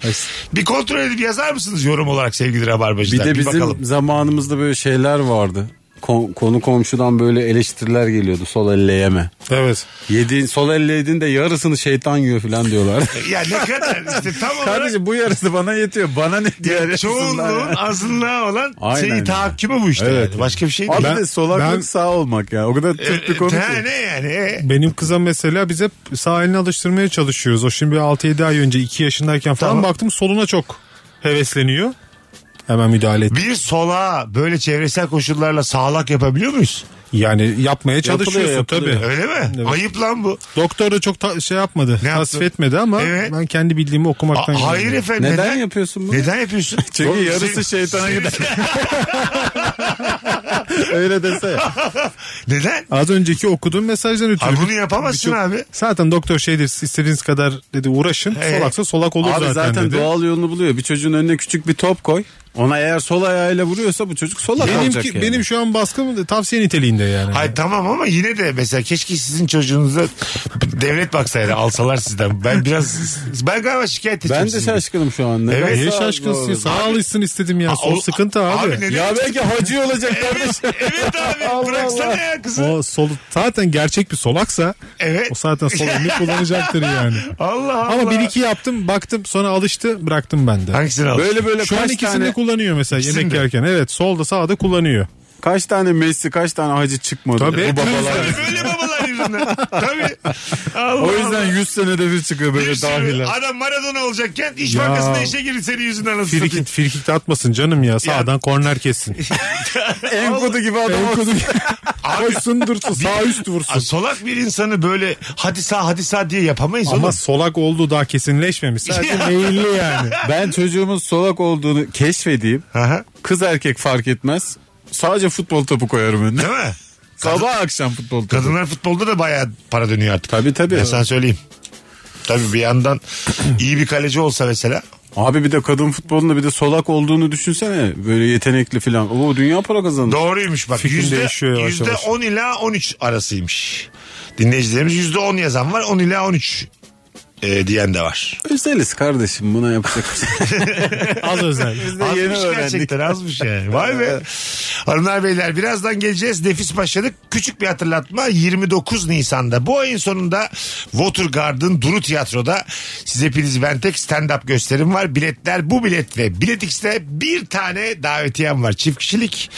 Speaker 2: Bir kontrol edip yazar mısınız yorum olarak sevgili
Speaker 4: Bir
Speaker 2: Rabarbacılar?
Speaker 4: de bizim
Speaker 2: bakalım.
Speaker 4: zamanımızda böyle şeyler vardı. Ko- konu komşudan böyle eleştiriler geliyordu. Sol elle yeme.
Speaker 3: Evet.
Speaker 4: Yediğin, sol elle yedin de yarısını şeytan yiyor falan diyorlar.
Speaker 2: Ya ne kadar işte tam olarak
Speaker 4: Kardeşim bu yarısı bana yetiyor. Bana ne diğer
Speaker 2: çoğunluğun azınlığa olan
Speaker 4: Aynen
Speaker 2: senin
Speaker 4: ya.
Speaker 2: tahakkümü bu işte.
Speaker 4: Evet.
Speaker 2: yani. Başka bir şey değil. e,
Speaker 4: Abi
Speaker 3: Ben-
Speaker 4: de solaklık
Speaker 3: ben-
Speaker 4: sağ olmak ya. O kadar
Speaker 3: E,
Speaker 4: Türk bir konu ki.
Speaker 2: Ha, ne yani? E,
Speaker 3: Benim kıza mesela biz hep sağ elini alıştırmaya çalışıyoruz. O şimdi bir 6-7 ay önce 2 yaşındayken falan
Speaker 2: Tamam.
Speaker 3: baktım soluna çok hevesleniyor. Hemen müdahale ettim.
Speaker 2: Bir sola böyle çevresel koşullarla sağlak yapabiliyor muyuz?
Speaker 3: Yani yapmaya çalışıyorsun
Speaker 4: yapılıyor.
Speaker 3: tabii.
Speaker 2: Öyle mi?
Speaker 3: Evet.
Speaker 2: Ayıp lan bu.
Speaker 3: Doktor da çok ta- şey yapmadı.
Speaker 2: Ne
Speaker 3: tasvip
Speaker 2: yaptı?
Speaker 3: etmedi ama
Speaker 2: Evet.
Speaker 3: ben kendi bildiğimi
Speaker 2: A-
Speaker 3: okumaktan
Speaker 2: hayır
Speaker 3: geldim.
Speaker 2: efendim.
Speaker 4: Neden, yapıyorsun bunu?
Speaker 2: Neden yapıyorsun?
Speaker 4: Çünkü
Speaker 2: Oğlum,
Speaker 4: yarısı
Speaker 2: senin-
Speaker 4: şeytana gider. Öyle dese. ya.
Speaker 2: Neden?
Speaker 3: Az önceki okuduğum mesajdan ötürü.
Speaker 2: Abi bunu yapamazsın
Speaker 3: Birçok-
Speaker 2: abi.
Speaker 3: Zaten doktor şey dedi istediğiniz kadar dedi uğraşın.
Speaker 2: Evet.
Speaker 3: Solaksa solak olur
Speaker 4: Abi
Speaker 3: zaten,
Speaker 4: zaten,
Speaker 3: dedi.
Speaker 4: doğal yolunu buluyor. Bir çocuğun önüne küçük bir top koy. Ona eğer sol ayağıyla vuruyorsa bu çocuk solak
Speaker 3: Benim,
Speaker 4: olacak yani.
Speaker 3: Şey benim şu an baskım tavsiye niteliğinde yani.
Speaker 2: Hayır tamam ama yine de mesela keşke sizin çocuğunuza devlet baksaydı alsalar sizden. Ben biraz ben galiba şikayet edeceğim.
Speaker 4: Ben de
Speaker 2: sizi.
Speaker 4: şaşkınım şu an. Neden
Speaker 2: Evet.
Speaker 4: sağ-
Speaker 3: Niye şaşkınsın? Sağ alışsın istedim ya.
Speaker 2: Aa,
Speaker 3: Sol
Speaker 2: o-
Speaker 3: sıkıntı abi.
Speaker 2: Abi ne-
Speaker 4: Ya belki hacı olacak
Speaker 2: Evet,
Speaker 4: kardeşim.
Speaker 2: evet abi
Speaker 4: Allah
Speaker 2: bıraksana
Speaker 4: Allah.
Speaker 2: ya kızı.
Speaker 3: o sol zaten gerçek bir solaksa
Speaker 2: Evet.
Speaker 3: o zaten sol elini kullanacaktır yani.
Speaker 2: Allah Allah.
Speaker 3: Ama bir iki yaptım baktım sonra alıştı bıraktım ben de.
Speaker 2: Hangisini aldın?
Speaker 4: Böyle böyle
Speaker 3: Şu an
Speaker 4: kaç
Speaker 3: ikisini
Speaker 4: tane
Speaker 3: de kullanıyor mesela
Speaker 2: İkisini
Speaker 3: yemek
Speaker 2: de.
Speaker 3: yerken. Evet solda sağda kullanıyor.
Speaker 4: kaç tane Messi kaç tane hacı çıkmadı
Speaker 3: Tabii.
Speaker 4: bu babalar.
Speaker 2: Böyle, böyle babalar yüzünden. Tabii. Allah
Speaker 4: O yüzden
Speaker 2: Allah.
Speaker 4: 100 senede bir çıkıyor
Speaker 2: Bir
Speaker 4: böyle
Speaker 2: sürü
Speaker 4: dahiler.
Speaker 2: Adam Maradona olacakken iş
Speaker 3: Ya.
Speaker 2: bankasına işe girdi senin yüzünden anasını satayım.
Speaker 3: Frikik, frikik de atmasın canım ya. Sağdan korner kessin.
Speaker 4: Enkudu gibi adam.
Speaker 3: Enkudu
Speaker 2: Abi-
Speaker 3: koşsun dursun sağ üst
Speaker 2: Aa,
Speaker 3: vursun.
Speaker 2: Solak bir insanı böyle hadi sağ hadi sağ diye yapamayız
Speaker 3: Ama
Speaker 2: oğlum.
Speaker 3: solak olduğu daha kesinleşmemiş. Sadece meyilli yani.
Speaker 4: Ben çocuğumun solak olduğunu keşfedeyim.
Speaker 2: Aha,
Speaker 4: Kız erkek fark etmez. Sadece futbol topu koyarım önüne.
Speaker 2: değil mi?
Speaker 4: Sabah akşam futbol topu.
Speaker 2: Kadınlar futbolda da bayağı para dönüyor artık.
Speaker 4: Tabii tabii.
Speaker 2: Ben sana söyleyeyim. Tabii bir yandan iyi bir kaleci olsa mesela
Speaker 4: Abi bir de kadın futbolunda bir de solak olduğunu düşünsene. Böyle yetenekli falan. Oo dünya para kazandı.
Speaker 2: Doğruymuş bak.
Speaker 3: Fikrim
Speaker 2: Yüzde,
Speaker 3: değişiyor yavaş
Speaker 2: yüzde
Speaker 3: yavaş.
Speaker 2: 10 ila 13 arasıymış. Dinleyicilerimiz yüzde 10 yazan var. 10 ila 13 e, diyen de var.
Speaker 4: Özeliz kardeşim buna yapacak bir şey. yok.
Speaker 3: Az özel.
Speaker 4: Biz de
Speaker 2: Azmış
Speaker 4: yeni öğrendik.
Speaker 2: gerçekten azmış yani. Vay be. Hanımlar beyler birazdan geleceğiz. Nefis başladık. Küçük bir hatırlatma 29 Nisan'da bu ayın sonunda Watergarden Duru Tiyatro'da size Filiz Ventek stand-up gösterim var. Biletler bu bilet ve Bilet X'te bir tane davetiyem var. Çift kişilik.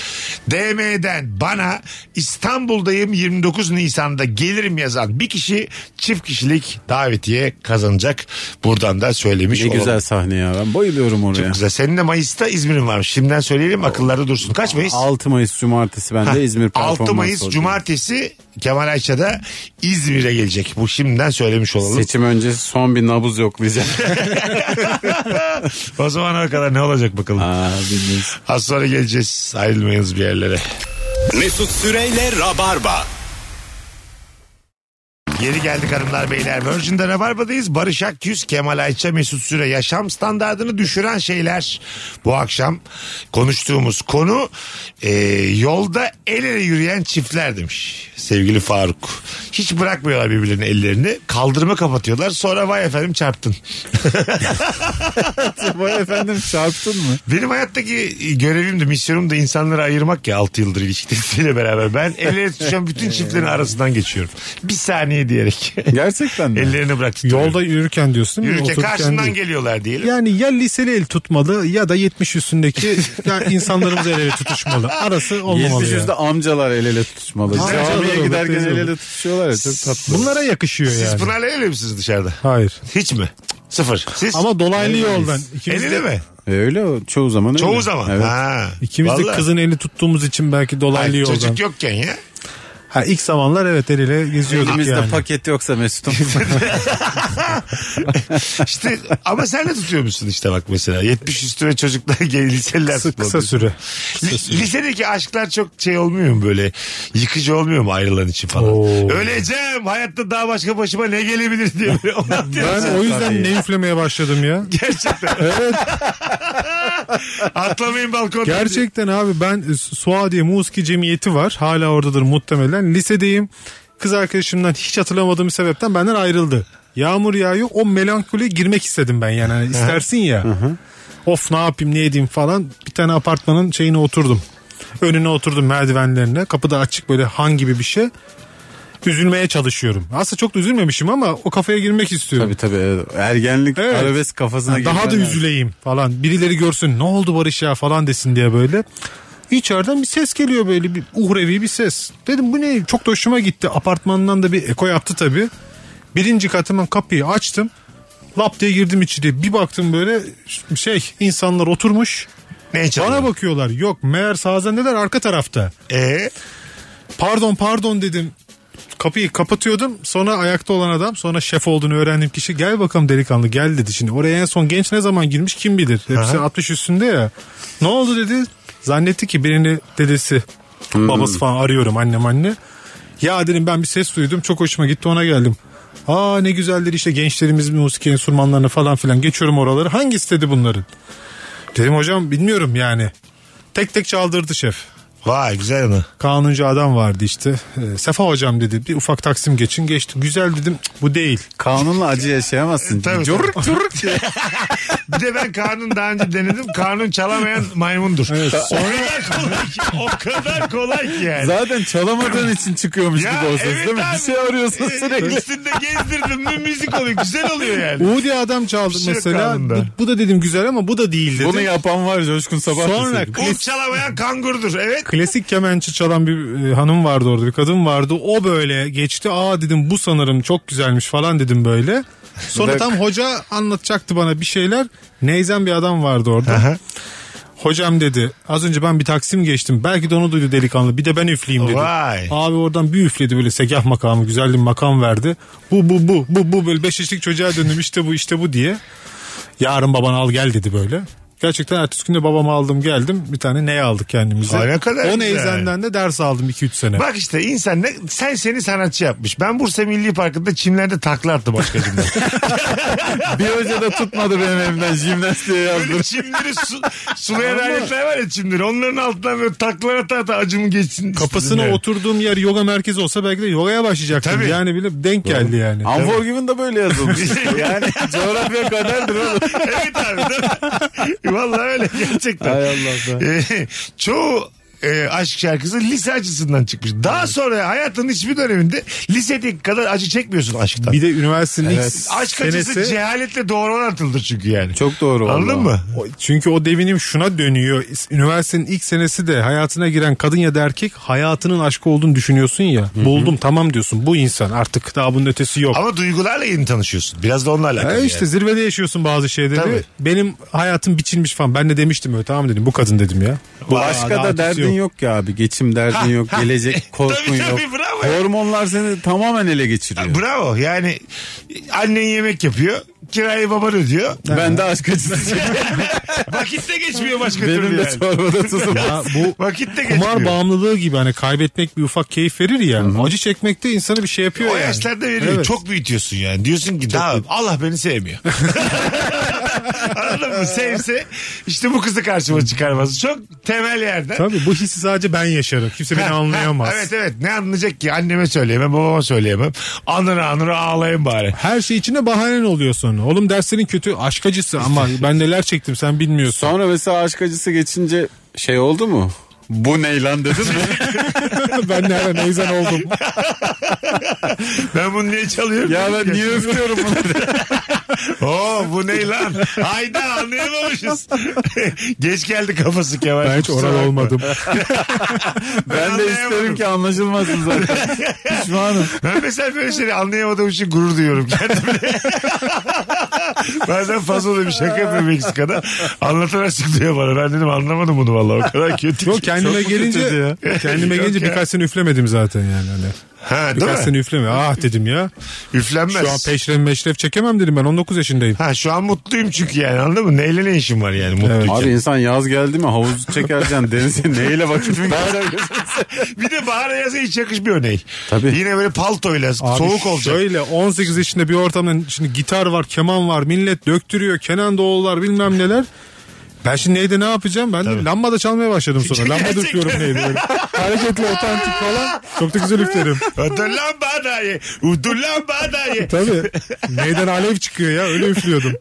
Speaker 2: DM'den bana İstanbul'dayım 29 Nisan'da gelirim yazan bir kişi çift kişilik davetiye kazanacak. Buradan da söylemiş
Speaker 4: Ne
Speaker 2: olalım.
Speaker 4: güzel sahne ya. Ben bayılıyorum oraya.
Speaker 2: şey Güzel. Senin de Mayıs'ta İzmir'in varmış. Şimdiden söyleyelim akıllarda dursun. Kaç Mayıs?
Speaker 4: 6 Mayıs cumartesi ben de İzmir performans
Speaker 2: 6 Mayıs
Speaker 4: olacağım.
Speaker 2: Cumartesi Kemal Ayça'da İzmir'e gelecek. Bu şimdiden söylemiş olalım.
Speaker 4: Seçim öncesi son bir nabız yoklayacağım.
Speaker 2: o zamana kadar ne olacak bakalım.
Speaker 4: Aa, bilmiyorum.
Speaker 2: Az sonra geleceğiz. Ayrılmayınız bir yerlere.
Speaker 1: Mesut Süreyle Rabarba.
Speaker 2: Geri geldik hanımlar beyler. Virgin'de Rabarba'dayız. Barış Akyüz, Kemal Ayça, Mesut Süre. Yaşam standartını düşüren şeyler. Bu akşam konuştuğumuz konu e, yolda el ele yürüyen çiftler demiş sevgili Faruk. Hiç bırakmıyorlar birbirlerinin ellerini. Kaldırıma kapatıyorlar. Sonra vay efendim çarptın.
Speaker 4: Vay efendim çarptın mı?
Speaker 2: Benim hayattaki görevim de misyonum da insanları ayırmak ya 6 yıldır ilişkisiyle beraber. Ben el ele tutuşan bütün çiftlerin arasından geçiyorum. Bir saniye diyerek.
Speaker 4: Gerçekten mi?
Speaker 2: Ellerini bırak.
Speaker 3: Yolda yürürken diyorsun. değil mi?
Speaker 2: Yürürken
Speaker 3: Otururken
Speaker 2: karşından
Speaker 3: değil.
Speaker 2: geliyorlar diyelim.
Speaker 3: Yani ya liseli el tutmalı ya da 70 üstündeki ya insanlarımız el ele tutuşmalı. Arası olmamalı.
Speaker 4: Gezmiş
Speaker 3: ya.
Speaker 4: yüzde amcalar el ele tutuşmalı.
Speaker 3: Amcalar
Speaker 4: Camiye
Speaker 3: olur,
Speaker 4: giderken
Speaker 3: teyze
Speaker 4: el ele
Speaker 3: olur.
Speaker 4: tutuşuyorlar ya çok tatlı.
Speaker 3: Bunlara yakışıyor
Speaker 2: Siz
Speaker 3: yani.
Speaker 2: Pınar'la evli misiniz dışarıda?
Speaker 3: Hayır.
Speaker 2: Hiç mi? Sıfır. Siz?
Speaker 3: Ama dolaylı yoldan.
Speaker 2: el
Speaker 3: İkimiz
Speaker 2: ele
Speaker 3: de,
Speaker 2: mi?
Speaker 4: E, öyle o, çoğu zaman öyle.
Speaker 2: Çoğu zaman.
Speaker 4: Evet.
Speaker 2: Ha.
Speaker 3: ikimiz de
Speaker 2: Vallahi.
Speaker 3: kızın eli tuttuğumuz için belki dolaylı
Speaker 2: Ay,
Speaker 3: yoldan.
Speaker 2: Çocuk yokken ya.
Speaker 3: Ha, ilk zamanlar evet el ele geziyorduk
Speaker 4: Elimizde
Speaker 3: yani.
Speaker 4: paket yoksa Mesut'um.
Speaker 2: İşte ama sen de tutuyor musun işte bak mesela. 70 üstüne çocuklar gel liseliler
Speaker 3: Kısa,
Speaker 2: tutmalı.
Speaker 3: kısa süre.
Speaker 2: Li- Lisedeki aşklar çok şey olmuyor mu böyle? Yıkıcı olmuyor mu ayrılan için falan?
Speaker 3: Oo.
Speaker 2: Öleceğim hayatta daha başka başıma ne gelebilir diye. böyle ona diyorsun.
Speaker 3: Ben o yüzden
Speaker 4: Tabii.
Speaker 3: ne üflemeye başladım ya.
Speaker 2: Gerçekten. Atlamayın balkondan.
Speaker 3: Gerçekten abi ben e, Suadiye Muski Cemiyeti var. Hala oradadır muhtemelen. Lisedeyim. Kız arkadaşımdan hiç hatırlamadığım bir sebepten benden ayrıldı. Yağmur yağıyor. O melankoliye girmek istedim ben yani. Hani istersin ya. of ne yapayım ne edeyim falan. Bir tane apartmanın şeyine oturdum. Önüne oturdum merdivenlerine. Kapıda açık böyle han gibi bir şey. Üzülmeye çalışıyorum. Aslında çok da üzülmemişim ama o kafaya girmek istiyorum.
Speaker 4: tabii tabii. evet. Ergenlik
Speaker 3: Evet.
Speaker 4: arabesk kafasına
Speaker 3: Yani daha da
Speaker 4: giren-
Speaker 3: üzüleyim falan. Birileri görsün ne oldu Barış ya falan desin diye böyle. İçeriden bir ses geliyor böyle bir uhrevi bir ses. Dedim bu ne? Çok da hoşuma gitti. Apartmandan da bir eko yaptı tabii. Birinci katımın kapıyı açtım. Lap diye girdim içeri. Bir baktım böyle şey insanlar oturmuş.
Speaker 2: Ne çalıyor?
Speaker 3: Bana bakıyorlar. Yok meğer sazendeler arka tarafta.
Speaker 2: Ee?
Speaker 3: Pardon pardon dedim. Kapıyı kapatıyordum. Sonra ayakta olan adam sonra şef olduğunu öğrendiğim kişi gel bakalım delikanlı gel dedi. Şimdi oraya en son genç ne zaman girmiş kim bilir. Hepsi
Speaker 2: Aha.
Speaker 3: 60 üstünde ya. Ne oldu dedi. Zannetti ki birini dedesi babası falan arıyorum annem anne. Ya dedim ben bir ses duydum çok hoşuma gitti ona geldim. Aa ne güzeldir işte gençlerimiz müzik enstrümanlarına falan filan geçiyorum oraları. Hangisi dedi bunların? Dedim hocam bilmiyorum yani. Tek tek çaldırdı şef.
Speaker 2: Vay güzel ana.
Speaker 3: Kanuncu adam vardı işte. Ee, Sefa hocam dedi bir ufak taksim geçin geçti. Güzel dedim "Cık, bu değil.
Speaker 4: Kanunla acı yaşayamazsın.
Speaker 2: Tabii,
Speaker 4: Coruk coruk diye.
Speaker 2: Bir de ben kanun daha önce denedim. Kanun çalamayan maymundur. O kadar kolay ki. O kadar kolay ki yani.
Speaker 4: Zaten çalamadığın için çıkıyormuş
Speaker 2: Ya,
Speaker 4: gibi o ses
Speaker 2: evet
Speaker 4: değil mi?
Speaker 2: abi.
Speaker 4: Bir şey arıyorsun
Speaker 2: Ee,
Speaker 4: sürekli.
Speaker 2: Üstünde gezdirdim mi müzik oluyor. Güzel oluyor yani.
Speaker 3: Uğudi adam çaldı
Speaker 2: Bir şey yok
Speaker 3: mesela.
Speaker 2: kanunda.
Speaker 3: Bu, bu da dedim güzel ama bu da değil dedi.
Speaker 4: Bunu yapan var Coşkun Sabah.
Speaker 3: Sonra
Speaker 4: deseydi.
Speaker 2: Kurt çalamayan kangurdur. Evet.
Speaker 3: klasik kemençe çalan bir e, hanım vardı orada bir kadın vardı. O böyle geçti. Aa dedim bu sanırım çok güzelmiş falan dedim böyle. Sonra
Speaker 4: Bak.
Speaker 3: tam hoca anlatacaktı bana bir şeyler. Neyzen bir adam vardı orada. Hocam dedi az önce ben bir taksim geçtim. Belki de onu duydu delikanlı. Bir de ben üfleyeyim dedi.
Speaker 2: Vay.
Speaker 3: Abi oradan bir üfledi böyle segah makamı güzel bir makam verdi. Bu bu bu bu bu böyle beş yaşlık çocuğa döndüm işte bu işte bu diye. Yarın baban al gel dedi böyle. Gerçekten ertesi günde babama aldım geldim. Bir tane ney aldık kendimize.
Speaker 2: Ay ne kadar
Speaker 3: O
Speaker 2: güzel.
Speaker 3: neyzenden de ders aldım 2-3 sene.
Speaker 2: Bak işte insan ne, sen seni sanatçı yapmış. Ben Bursa Milli Parkı'nda çimlerde takla attım başkacımda.
Speaker 4: Bir hoca da tutmadı benim evimden jimnastiğe yazdım.
Speaker 2: Böyle çimleri su, sulayan aletler var ya çimleri. Onların altından böyle takla ata ata acımı geçsin.
Speaker 3: Kapısına
Speaker 2: istedim yani.
Speaker 3: oturduğum yer yoga merkezi olsa belki de yogaya başlayacaktım.
Speaker 2: Tabii.
Speaker 3: Yani bile denk geldi yani.
Speaker 4: Unforgiven da böyle yazılmış. yani coğrafya kaderdir oğlum.
Speaker 2: evet abi değil mi? Vallahi öyle gerçekten.
Speaker 4: Hay Allah
Speaker 2: Ee, çoğu e, aşk şarkısı lise acısından çıkmış. Daha sonra hayatının hiçbir döneminde lisedeki kadar acı çekmiyorsun aşktan.
Speaker 3: Bir de üniversitenin ilk
Speaker 2: Aşk acısı
Speaker 3: senesi.
Speaker 2: cehaletle doğru orantılıdır çünkü yani.
Speaker 4: Çok doğru valla.
Speaker 2: Anladın mı?
Speaker 3: O- Çünkü o devinim şuna dönüyor. Üniversitenin ilk senesi de hayatına giren kadın ya da erkek hayatının aşkı olduğunu düşünüyorsun ya. Buldum tamam diyorsun. Bu insan artık daha bunun ötesi yok.
Speaker 2: Ama duygularla yeni tanışıyorsun. Biraz da onunla alakalı.
Speaker 3: E işte
Speaker 2: yani.
Speaker 3: zirvede yaşıyorsun bazı şeyleri.
Speaker 2: Tabii.
Speaker 3: Benim hayatım biçilmiş falan. Ben de demiştim öyle tamam dedim. Bu kadın dedim ya.
Speaker 4: Bu
Speaker 3: Aa,
Speaker 4: aşka
Speaker 3: daha ötesi
Speaker 4: da derdin yok ki abi. Geçim
Speaker 2: Ha,
Speaker 4: derdin yok.
Speaker 2: ha.
Speaker 4: Gelecek korkun
Speaker 2: Tabii,
Speaker 4: yok.
Speaker 2: tabii, bravo.
Speaker 4: Hormonlar seni tamamen ele geçiriyor.
Speaker 2: Bravo yani annen yemek yapıyor. Kirayı baban ödüyor.
Speaker 4: Ben de aşk acısı çekiyorum.
Speaker 2: Vakit de geçmiyor başka
Speaker 4: Benim
Speaker 2: türlü
Speaker 4: de
Speaker 2: yani.
Speaker 4: çorbada tuzum.
Speaker 3: Ya bu
Speaker 2: Vakit de geçmiyor.
Speaker 3: kumar bağımlılığı gibi hani kaybetmek bir ufak keyif verir ya. Acı çekmek de insanı bir şey yapıyor
Speaker 2: O
Speaker 3: yani.
Speaker 2: yaşlarda veriyor.
Speaker 3: Evet.
Speaker 2: Çok büyütüyorsun yani. Diyorsun ki daha Allah beni sevmiyor. Anladın mı? Sevse işte bu kızı karşıma çıkarmaz. Çok temel yerden.
Speaker 3: Tabii bu hissi sadece ben yaşarım. Kimse beni
Speaker 2: Ha,
Speaker 3: anlayamaz.
Speaker 2: ha, evet evet ne anlayacak ki anneme söyleyemem babama söyleyemem. Anır anır ağlayayım bari.
Speaker 3: Her şey içinde bahanen oluyor sonra. Oğlum derslerin kötü aşk acısı ama ben neler çektim sen bilmiyorsun.
Speaker 4: Sonra mesela aşk acısı geçince şey oldu mu? Bu ne lan dedin mi?
Speaker 3: ben nereden neyzen oldum.
Speaker 2: Ben bunu niye çalıyorum?
Speaker 4: ya ben niye öpüyorum bunu?
Speaker 2: Oo bu ne lan? Hayda anlayamamışız. Geç geldi kafası Kemal.
Speaker 3: Ben hiç
Speaker 2: Kusura
Speaker 3: oral
Speaker 2: bakma.
Speaker 3: olmadım.
Speaker 4: ben de
Speaker 2: anlayamadım.
Speaker 4: isterim ki anlaşılmasın zaten. Pişmanım.
Speaker 2: Ben mesela böyle şeyleri anlayamadığım için gurur duyuyorum kendime. Bazen fazla oluyor bir şaka yapıyor Meksika'da. Anlatan açıklıyor bana. Ben dedim anlamadım bunu vallahi o kadar kötü.
Speaker 3: Yok kendime
Speaker 4: Çok mu
Speaker 3: gelince
Speaker 4: kötüydü
Speaker 3: kendime
Speaker 2: Yok
Speaker 3: gelince
Speaker 2: ya.
Speaker 3: birkaç sene üflemedim zaten yani. Hani
Speaker 2: ha, değil
Speaker 3: birkaç
Speaker 2: mi?
Speaker 3: sene üfleme. Ah dedim ya.
Speaker 2: Üflenmez.
Speaker 3: Şu an peşref meşref çekemem dedim ben 19 yaşındayım.
Speaker 2: Ha şu an mutluyum çünkü yani anladın mı? Neyle ne işim var yani mutluyken.
Speaker 4: Abi insan yaz geldi mi havuzu çekerken denize neyle vakit mi
Speaker 2: Bir de bahar yazı hiç yakışmıyor örneği.
Speaker 4: Tabii.
Speaker 2: Yine böyle paltoyla
Speaker 3: Abi
Speaker 2: soğuk olacak.
Speaker 3: Şöyle 18 yaşında bir ortamda şimdi gitar var, keman var, millet döktürüyor, Kenan Doğulular bilmem neler. Ben şimdi neydi ne yapacağım? Ben de lambada çalmaya başladım sonra. Lamba
Speaker 2: Gerçekten.
Speaker 3: dürtüyorum neydi böyle. Hareketli, otantik falan. Çok da güzel üflerim.
Speaker 2: Ödül lan badayı. Ödül lan badayı.
Speaker 3: Tabii. Neyden alev çıkıyor ya öyle üflüyordum.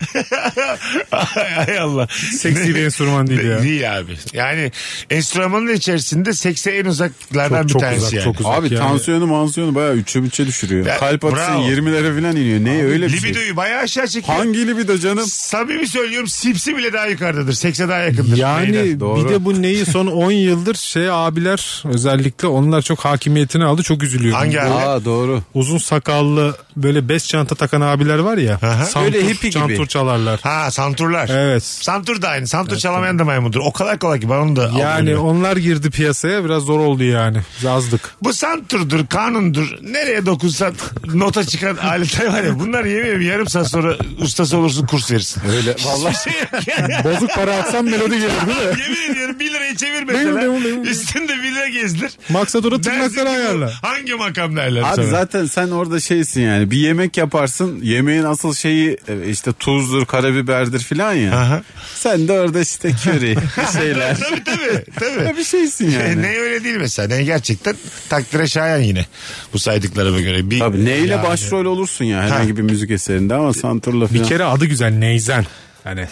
Speaker 2: Ay Allah.
Speaker 3: Seksi bir enstrüman değil ya.
Speaker 2: Değil abi. Yani enstrümanın içerisinde sekse en uzaklardan
Speaker 3: Çok-
Speaker 2: bir
Speaker 3: çok
Speaker 2: tanesi
Speaker 3: uzak,
Speaker 2: yani.
Speaker 3: çok uzak.
Speaker 4: Abi
Speaker 3: Yani-
Speaker 4: tansiyonu mansiyonu bayağı üçe bütçe düşürüyor.
Speaker 2: Ya,
Speaker 4: Kalp atışı
Speaker 2: bravo.
Speaker 4: 20'lere falan iniyor. Ne öyle bir şey.
Speaker 2: Libidoyu bayağı aşağı çekiyor.
Speaker 4: Hangi libido canım?
Speaker 2: Samimi söylüyorum sipsi bile daha yukarıdadır. Sekse daha yakındır. Beyler.
Speaker 3: Yani
Speaker 4: doğru.
Speaker 3: bir de bu neyi son 10 yıldır şey abiler özellikle onlar çok hakimiyetini aldı çok üzülüyorum.
Speaker 2: Hangi abi?
Speaker 4: Aa doğru.
Speaker 3: Uzun sakallı böyle bez çanta takan abiler var ya.
Speaker 2: Aha.
Speaker 3: Santur,
Speaker 4: Böyle hippie gibi.
Speaker 3: Santur çalarlar.
Speaker 2: Ha santurlar.
Speaker 3: Evet.
Speaker 2: Santur da aynı. Santur çalamayan da maymundur. O kadar kolay ki ben onu da
Speaker 3: Yani
Speaker 2: anlamıyorum.
Speaker 3: onlar girdi piyasaya biraz zor oldu yani. Azdık.
Speaker 2: Bu santurdur, kanundur. Nereye dokunsan nota çıkan aletler var ya. Bunlar yemeğim yarım saat sonra ustası olursun kurs verirsin.
Speaker 4: Öyle vallahi
Speaker 2: Hiçbir şey yok yani.
Speaker 3: Bozuk para atsam melodi gelir değil mi?
Speaker 2: Yemin ediyorum 1 lirayı çevir
Speaker 3: Benim,
Speaker 2: mesela.
Speaker 3: benim, benim.
Speaker 2: Üstünde 1 lira gezdir.
Speaker 3: Maksat orada
Speaker 2: Dersin ki bu
Speaker 3: tırnakları ayarla.
Speaker 2: Hangi makam derler
Speaker 4: Abi
Speaker 2: sana?
Speaker 4: zaten sen orada şeysin yani bir yemek yaparsın yemeğin asıl şeyi e, işte tuzdur karabiberdir filan ya.
Speaker 2: Aha.
Speaker 4: Sen de orada işte köri şeyler.
Speaker 2: tabii tabii. tabii. Şey,
Speaker 4: Ya bir şeysin yani.
Speaker 2: Ne öyle değil mesela. Ne gerçekten takdire şayan yine. Bu saydıklarıma göre. Bir,
Speaker 4: Tabii neyle
Speaker 2: Yani.
Speaker 4: başrol olursun ya herhangi bir müzik eserinde ama santurla
Speaker 3: Bir
Speaker 4: filan.
Speaker 3: kere adı güzel Neyzen. Hani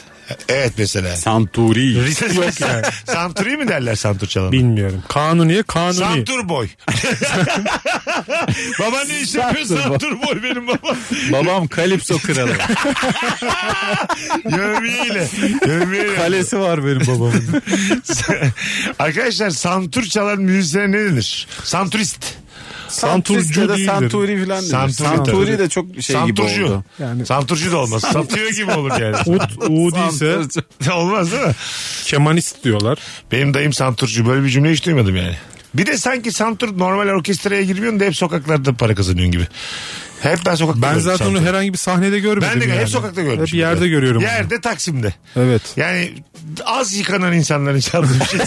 Speaker 2: Evet mesela.
Speaker 4: Santuri.
Speaker 2: Yok yani. Santuri mi derler santur çalana?
Speaker 3: bilmiyorum. Kanuniye kanuni.
Speaker 2: Santur boy. baba ne iş yapıyor santur boy benim babam.
Speaker 4: Babam Kalipso kralı.
Speaker 2: Yövmiyeyle. Yövmiyeyle.
Speaker 4: Kalesi var benim babamın.
Speaker 2: Arkadaşlar santur çalan müzisyene ne denir? Santurist.
Speaker 3: Santurcu
Speaker 4: ya da
Speaker 3: değildir.
Speaker 4: Santuri filan denir.
Speaker 2: Santuri
Speaker 4: Santuri,
Speaker 2: tabii.
Speaker 4: de çok şey gibi
Speaker 2: Santurcu.
Speaker 4: oldu.
Speaker 3: Yani-
Speaker 2: Santurcu da olmaz. Satıyor gibi olur yani.
Speaker 3: Ut, U değilse
Speaker 4: Santurcu.
Speaker 2: olmaz değil mi?
Speaker 3: kemanist diyorlar.
Speaker 2: Benim dayım santurcu. Böyle bir cümle hiç duymadım yani. Bir de sanki santur normal orkestraya girmiyorsun da hep sokaklarda para kazanıyorsun gibi. Hep ben sokakta
Speaker 3: Ben
Speaker 2: gördüm
Speaker 3: zaten onu
Speaker 2: çantayı.
Speaker 3: herhangi bir sahnede görmedim.
Speaker 2: Ben de
Speaker 3: yani.
Speaker 2: hep sokakta gördüm.
Speaker 3: Hep
Speaker 2: şimdi.
Speaker 3: yerde görüyorum. onu.
Speaker 2: Yerde Taksim'de.
Speaker 3: Evet.
Speaker 2: Yani az yıkanan insanların çaldığı bir şey.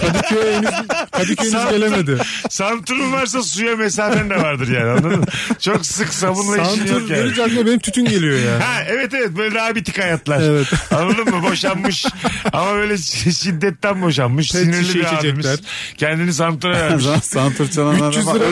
Speaker 3: Kadıköy'e henüz, Kadıköy henüz
Speaker 2: Santur-
Speaker 3: gelemedi.
Speaker 2: Santurun varsa suya mesafen de vardır yani anladın mı? Çok sık sabunla işin yok
Speaker 3: Santur
Speaker 2: yani.
Speaker 3: görünce aklıma benim tütün geliyor yani.
Speaker 2: Ha evet evet böyle rabitik hayatlar.
Speaker 3: Evet.
Speaker 2: Anladın mı? Boşanmış ama böyle şi- şiddetten boşanmış.
Speaker 3: Pet
Speaker 2: Sinirli
Speaker 3: şişe
Speaker 2: bir
Speaker 3: içecekler.
Speaker 2: abimiz. Kendini santura vermiş.
Speaker 4: Zaman santur çalanlar
Speaker 3: 300 lira,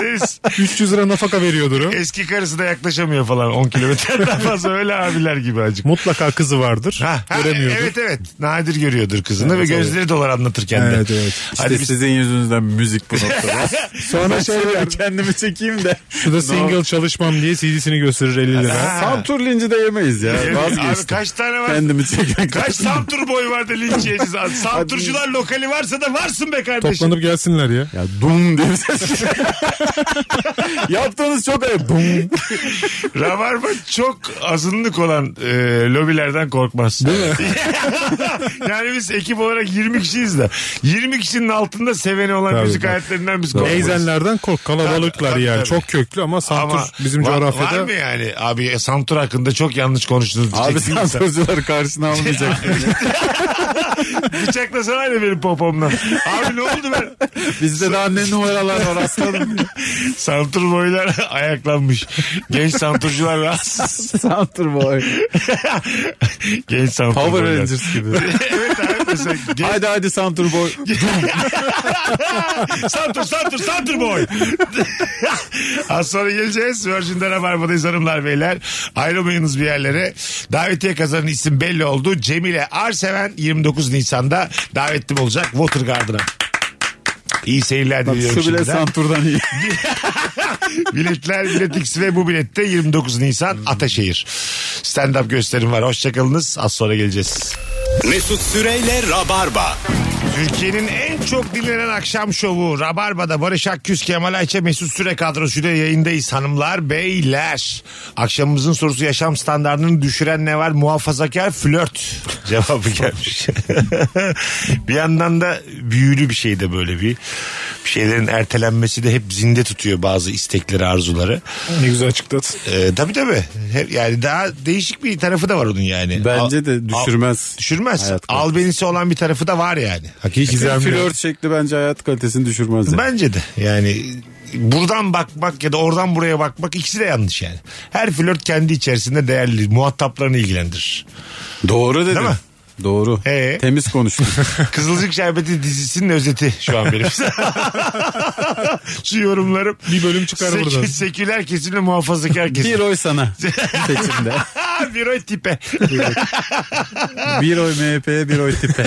Speaker 2: Deniz,
Speaker 3: 300 lira nafaka veriyordur o.
Speaker 2: Eski karısı da yaklaşamıyor falan 10 kilometreden fazla öyle abiler gibi acık.
Speaker 3: Mutlaka kızı vardır.
Speaker 2: Ha, ha,
Speaker 3: göremiyordur.
Speaker 2: evet evet nadir görüyordur kızını ve gözleri dolar anlatırken de.
Speaker 3: Evet, evet.
Speaker 2: Hadi
Speaker 4: İşte
Speaker 2: biz
Speaker 4: sizin yüzünüzden müzik bu noktada.
Speaker 3: Sonra şey der,
Speaker 4: kendimi çekeyim de.
Speaker 3: şu da single çalışmam diye CD'sini gösterir 50 lira.
Speaker 2: Ha.
Speaker 4: Santur linci de yemeyiz ya.
Speaker 2: Abi
Speaker 4: Vazgeçtim.
Speaker 2: kaç tane var?
Speaker 4: Kendimi çeken
Speaker 2: Kaç Samtur boyu var da linç yiyeceğiz. Samturcular lokali varsa da varsın be kardeşim.
Speaker 3: Toplanıp gelsinler ya.
Speaker 4: Ya dum diye bir ses geliyor. Yaptığınız çok ayıp. Dum.
Speaker 2: Rabarba çok azınlık olan e, lobilerden korkmaz. Değil mi? yani biz ekip olarak 20 kişiyiz de. 20 kişinin altında seveni olan
Speaker 3: Tabii,
Speaker 2: müzik
Speaker 3: bak.
Speaker 2: hayatlarından biz korkmaz.
Speaker 3: Eyzenlerden kork kalabalıklar
Speaker 2: Tabii,
Speaker 3: yani.
Speaker 2: tabii.
Speaker 3: Çok köklü ama Santur
Speaker 2: Ama
Speaker 3: bizim
Speaker 2: var,
Speaker 3: coğrafyada
Speaker 2: Var mı yani? Abi Samtur hakkında çok yanlış konuştunuz.
Speaker 4: Abi
Speaker 2: diyeceksin insan.
Speaker 4: santurcular karşına almayacak.
Speaker 2: Bıçaklasana öyle benim popomdan. Abi ne oldu ben?
Speaker 4: Bizde daha ne numaralar var aslanım.
Speaker 2: Santur boylar ayaklanmış. Genç santurcular rahatsız.
Speaker 4: Santur boy.
Speaker 2: Genç santur
Speaker 4: Power
Speaker 2: boylar.
Speaker 4: Rangers gibi.
Speaker 2: evet abi mesela genç
Speaker 4: Haydi haydi santur boy.
Speaker 2: Santur Santur Santur boy. Az sonra geleceğiz. Virgin'de Rabarba'dayız hanımlar beyler. Ayrılmayınız bir yerlere. Davetiye kazanan isim belli oldu. Cemile Arseven 29 Nisan'da davetli olacak Water Garden'a. İyi seyirler diliyorum
Speaker 4: Su bile
Speaker 2: şimdiden.
Speaker 4: santurdan iyi.
Speaker 2: Biletler Bilet X ve bu bilette 29 Nisan Ataşehir. Stand-up gösterim var. Hoşçakalınız. Az sonra geleceğiz.
Speaker 1: Mesut Süreyle Rabarba.
Speaker 2: Türkiye'nin en çok dinlenen akşam şovu Rabarba'da Barış Akküz, Kemal Ayça, Mesut Süre kadrosuyla yayındayız hanımlar beyler. Akşamımızın sorusu yaşam standartını düşüren ne var? Muhafazakar flört cevabı gelmiş. bir yandan da büyülü bir şey de böyle bir. Bir şeylerin ertelenmesi de hep zinde tutuyor bazı istekleri, arzuları.
Speaker 3: ne güzel açıkladın.
Speaker 2: Ee, tabii tabii. Hep, yani daha değişik bir tarafı da var onun yani.
Speaker 4: Bence de düşürmez.
Speaker 2: düşürmez.
Speaker 4: Hayat kalitesi.
Speaker 2: Albenisi olan bir tarafı da var yani. Hakikaten.
Speaker 4: Flört şekli bence hayat kalitesini düşürmez. yani.
Speaker 2: Bence de yani buradan bakmak ya da oradan buraya bakmak ikisi de yanlış yani. Her flört kendi içerisinde değerli muhataplarını ilgilendirir.
Speaker 4: Doğru dedim.
Speaker 2: Değil mi?
Speaker 4: Doğru.
Speaker 2: Ee?
Speaker 4: Temiz konuştun.
Speaker 2: Kızılcık Şerbeti dizisinin özeti şu an benim. şu yorumlarım.
Speaker 3: Bir bölüm çıkar
Speaker 2: Sekü-
Speaker 3: buradan.
Speaker 2: Seküler kesimle muhafazakar kesim.
Speaker 4: Bir oy sana seçimde.
Speaker 2: Ha, bir oy tipe.
Speaker 4: Bir oy MHP'ye bir oy tipe.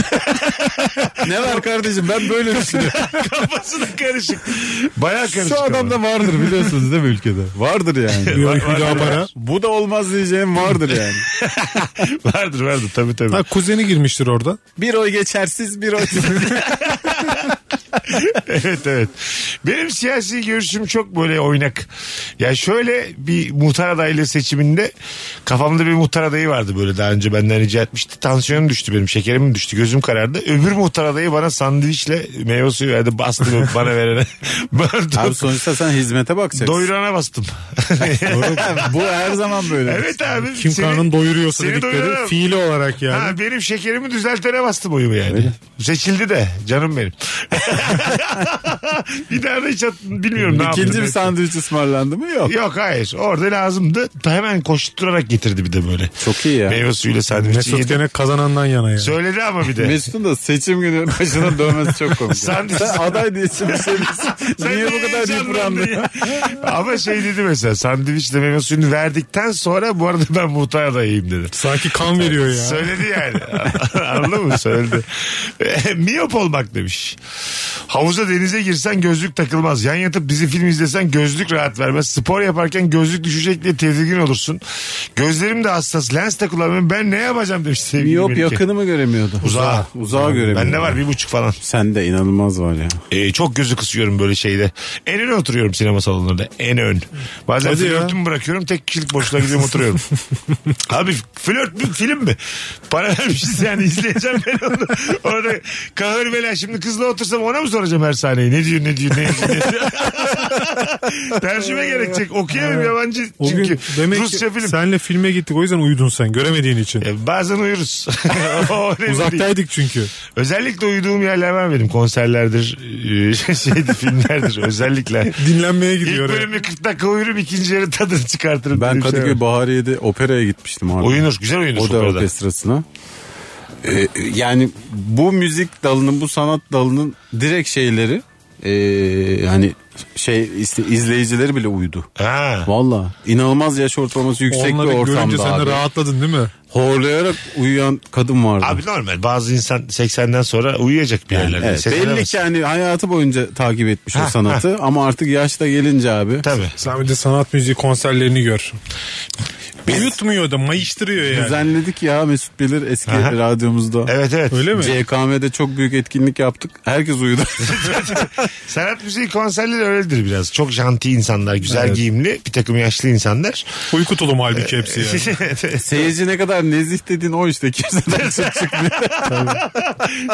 Speaker 4: ne var kardeşim ben böyle düşünüyorum.
Speaker 2: Kafası da karışık. Baya karışık.
Speaker 4: Şu
Speaker 2: ama.
Speaker 4: adamda vardır biliyorsunuz değil mi ülkede? Vardır yani.
Speaker 3: Diyor
Speaker 2: var, var,
Speaker 3: Hüdapar'a.
Speaker 4: Bu da olmaz diyeceğim vardır yani.
Speaker 2: vardır vardır tabii tabii.
Speaker 3: Ha kuzeni girmiştir orada.
Speaker 4: Bir oy geçersiz bir oy tipe.
Speaker 2: evet evet. Benim siyasi görüşüm çok böyle oynak. Ya şöyle bir muhtar adaylığı seçiminde kafamda bir muhtar adayı vardı böyle daha önce benden rica etmişti. Tansiyonum düştü benim şekerim düştü gözüm karardı. Öbür muhtar adayı bana sandviçle meyve suyu verdi bastı bana verene. Bana
Speaker 4: Abi sonuçta sen hizmete bakacaksın.
Speaker 2: doyurana bastım.
Speaker 4: Bu her zaman böyle.
Speaker 2: evet abi.
Speaker 3: Kim
Speaker 2: seni-
Speaker 3: karnın doyuruyorsa
Speaker 2: seni
Speaker 3: dedikleri
Speaker 2: doyuramam.
Speaker 3: fiili olarak yani.
Speaker 2: Ha, benim şekerimi düzeltene bastım oyumu yani. Seçildi de canım benim. bir daha da hiç at- bilmiyorum ne yaptım.
Speaker 4: İkinci bir sandviç ısmarlandı mı? Yok.
Speaker 2: Yok hayır. Orada lazımdı. Hemen koşturarak getirdi bir de böyle.
Speaker 4: Çok iyi ya.
Speaker 2: Meyve suyuyla
Speaker 4: şey
Speaker 2: sandviçi
Speaker 3: Mesut
Speaker 2: yedi.
Speaker 3: gene kazanandan yana yani.
Speaker 2: Söyledi ama bir de.
Speaker 4: Mesut'un da seçim günü başına dönmesi çok komik.
Speaker 2: Sandviç-
Speaker 4: Sen aday diye şimdi şey misin?
Speaker 2: Sen
Speaker 4: Niye
Speaker 2: niye
Speaker 4: bu kadar
Speaker 2: heyecanlandın
Speaker 4: yıprandın?
Speaker 2: ya? ama şey dedi mesela sandviçle meyve suyunu verdikten sonra bu arada ben muhtar adayıyım dedi.
Speaker 3: Sanki kan veriyor ya.
Speaker 2: Söyledi yani. Anladın mı? Söyledi. Miyop olmak demiş. Havuza denize girsen gözlük takılmaz. Yan yatıp dizi film izlesen gözlük rahat vermez. Spor yaparken gözlük düşecek diye tedirgin olursun. Gözlerim de hassas. Lens de kullanmıyorum. Ben ne yapacağım demiş sevgili
Speaker 4: Miyop
Speaker 2: Melike.
Speaker 4: yakını mı göremiyordu?
Speaker 2: Uzağa.
Speaker 4: Uzağa göremiyordu.
Speaker 2: Bende var bir buçuk falan.
Speaker 4: Sende inanılmaz var ya.
Speaker 2: Ee, çok gözü kısıyorum böyle şeyde. En öne oturuyorum sinema salonlarında. En ön. Bazen
Speaker 3: Hadi ya.
Speaker 2: flörtümü bırakıyorum. Tek kişilik boşluğa gidiyorum oturuyorum. Abi flört mü film mi? Para vermişiz yani izleyeceğim ben onu. Orada kahır bela şimdi kızla otursam ona mı soracağım her sahneyi? Ne diyor ne diyor ne diyor. ne diyor? Tercüme gerekecek. Okuyamam yabancı
Speaker 3: O
Speaker 2: çünkü
Speaker 3: gün demek
Speaker 2: Rusça
Speaker 3: ki
Speaker 2: film.
Speaker 3: senle filme gittik o yüzden uyudun sen göremediğin için.
Speaker 2: E, Bazen uyuruz. O önemli değil.
Speaker 3: Uzaktaydık çünkü.
Speaker 2: Özellikle uyuduğum yerler var benim. Konserlerdir, e, şeydir, filmlerdir özellikle.
Speaker 3: Dinlenmeye
Speaker 2: İlk
Speaker 3: gidiyor. oraya.
Speaker 2: bölümü 40 dakika uyurum, ikinci yarı tadını çıkartırım.
Speaker 4: Ben
Speaker 2: Böyle bir şey
Speaker 4: Kadıköy
Speaker 2: var.
Speaker 4: Bahariye'de operaya gitmiştim abi.
Speaker 2: Oyunur, güzel oyunur.
Speaker 4: Oda
Speaker 2: operada.
Speaker 4: orkestrasına. Ee, yani bu müzik dalının bu sanat dalının direkt şeyleri ee, hani şey iste- izleyicileri bile uyudu.
Speaker 2: Ha.
Speaker 4: Valla inanılmaz yaş ortalaması yüksek
Speaker 3: Onları
Speaker 4: bir
Speaker 3: görünce
Speaker 4: ortamda
Speaker 3: sen de
Speaker 4: abi.
Speaker 3: rahatladın değil mi?
Speaker 4: Horlayarak uyuyan kadın vardı.
Speaker 2: Abi normal bazı insan 80'den sonra uyuyacak bir
Speaker 4: Yani
Speaker 2: yerlerde.
Speaker 4: evet,
Speaker 3: şey
Speaker 4: belli
Speaker 2: Seslenemez.
Speaker 4: ki hani hayatı boyunca takip etmiş
Speaker 2: Ha,
Speaker 4: o sanatı ama artık yaşta gelince abi.
Speaker 2: Tabii.
Speaker 3: Sen bir de sanat müziği konserlerini gör. Uyutmuyor da mayıştırıyor yani.
Speaker 4: Düzenledik ya Mesut Bilir eski
Speaker 2: Aha.
Speaker 4: radyomuzda.
Speaker 2: Evet evet.
Speaker 3: Öyle mi?
Speaker 4: CKM'de çok büyük etkinlik yaptık. Herkes uyudu.
Speaker 2: Sanat müziği konserleri öyledir biraz. Çok janti insanlar, güzel giyimli, bir takım yaşlı insanlar.
Speaker 3: Uyku tulumu halbuki hepsi yani.
Speaker 4: Seyirci ne kadar nezih dedin o işte kimseden söz çıkmıyor.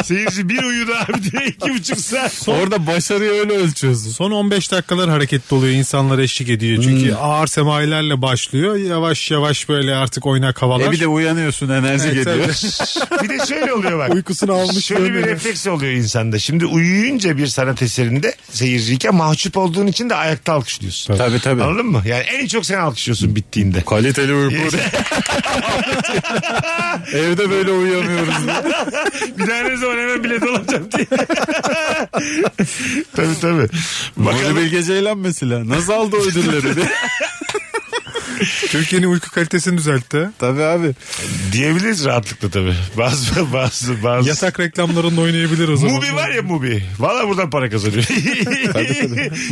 Speaker 2: Seyirci bir uyudu abi diye iki buçuk saat.
Speaker 4: Orada başarıyı öyle ölçüyorsun.
Speaker 3: Son 15 dakikalar hareketli oluyor. insanlar eşlik ediyor. Çünkü
Speaker 4: Hmm.
Speaker 3: ağır semayilerle başlıyor. Yavaş yavaş böyle artık oynak havalar.
Speaker 4: E bir de uyanıyorsun enerji
Speaker 3: Evet,
Speaker 4: geliyor.
Speaker 2: Bir de şöyle oluyor bak.
Speaker 3: Uykusunu almış
Speaker 2: Şöyle bir
Speaker 3: görünüyor.
Speaker 2: refleks oluyor insanda. Şimdi uyuyunca bir sanat eserinde seyirciyken mahcup olduğun için de ayakta alkışlıyorsun.
Speaker 4: Tabii tabii.
Speaker 2: Anladın mı? Yani en çok sen alkışlıyorsun bittiğinde.
Speaker 4: Kaliteli uyku. Evde böyle uyuyamıyoruz.
Speaker 2: Bir daha ne zaman hemen bilet alacağım diye. tabii tabii.
Speaker 4: Nuri
Speaker 2: Bakalım.
Speaker 4: Bilge Ceylan mesela. Nasıl aldı o ödülleri? diye.
Speaker 3: Türkiye'nin uyku kalitesini düzeltti.
Speaker 4: tabii abi.
Speaker 2: Diyebiliriz rahatlıkla tabii. Bazı bazı bazı.
Speaker 3: Yatak reklamlarında oynayabilir o zaman.
Speaker 2: Mubi var ya Mubi. Valla buradan para kazanıyor.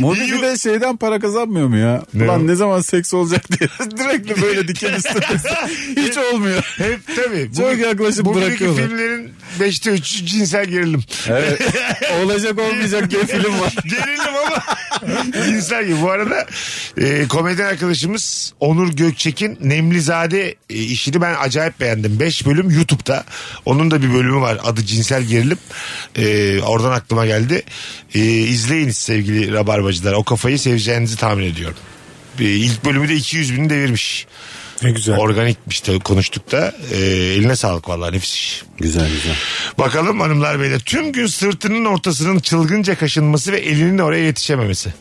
Speaker 4: Mobil bir de şeyden para kazanmıyor mu ya? Ulan ne zaman seks olacak diye. Direkt böyle diken üstüne. Hiç olmuyor.
Speaker 2: Hep tabii.
Speaker 4: Çok yaklaşıp
Speaker 2: bugünkü
Speaker 4: bırakıyorlar.
Speaker 2: filmlerin 5'te 3'ü cinsel gerilim.
Speaker 4: Evet. Olacak olmayacak diye film var.
Speaker 2: Gerilim ama cinsel gibi. Bu arada e, komedyen arkadaşımız Onur Gökçek'in Nemlizade e, işini ben acayip beğendim. 5 bölüm YouTube'da. Onun da bir bölümü var. Adı cinsel gerilim. E, oradan aklıma geldi. E, izleyiniz sevgili rabarbacılar. O kafayı seveceğinizi tahmin ediyorum. E, ilk bölümü de 200 bini devirmiş.
Speaker 3: Ne güzel.
Speaker 2: Organikmiş de şey konuştuk da. E, eline sağlık vallahi nefis iş.
Speaker 4: Güzel güzel.
Speaker 2: Bakalım hanımlar beyler. Tüm gün sırtının ortasının çılgınca kaşınması ve elinin oraya yetişememesi.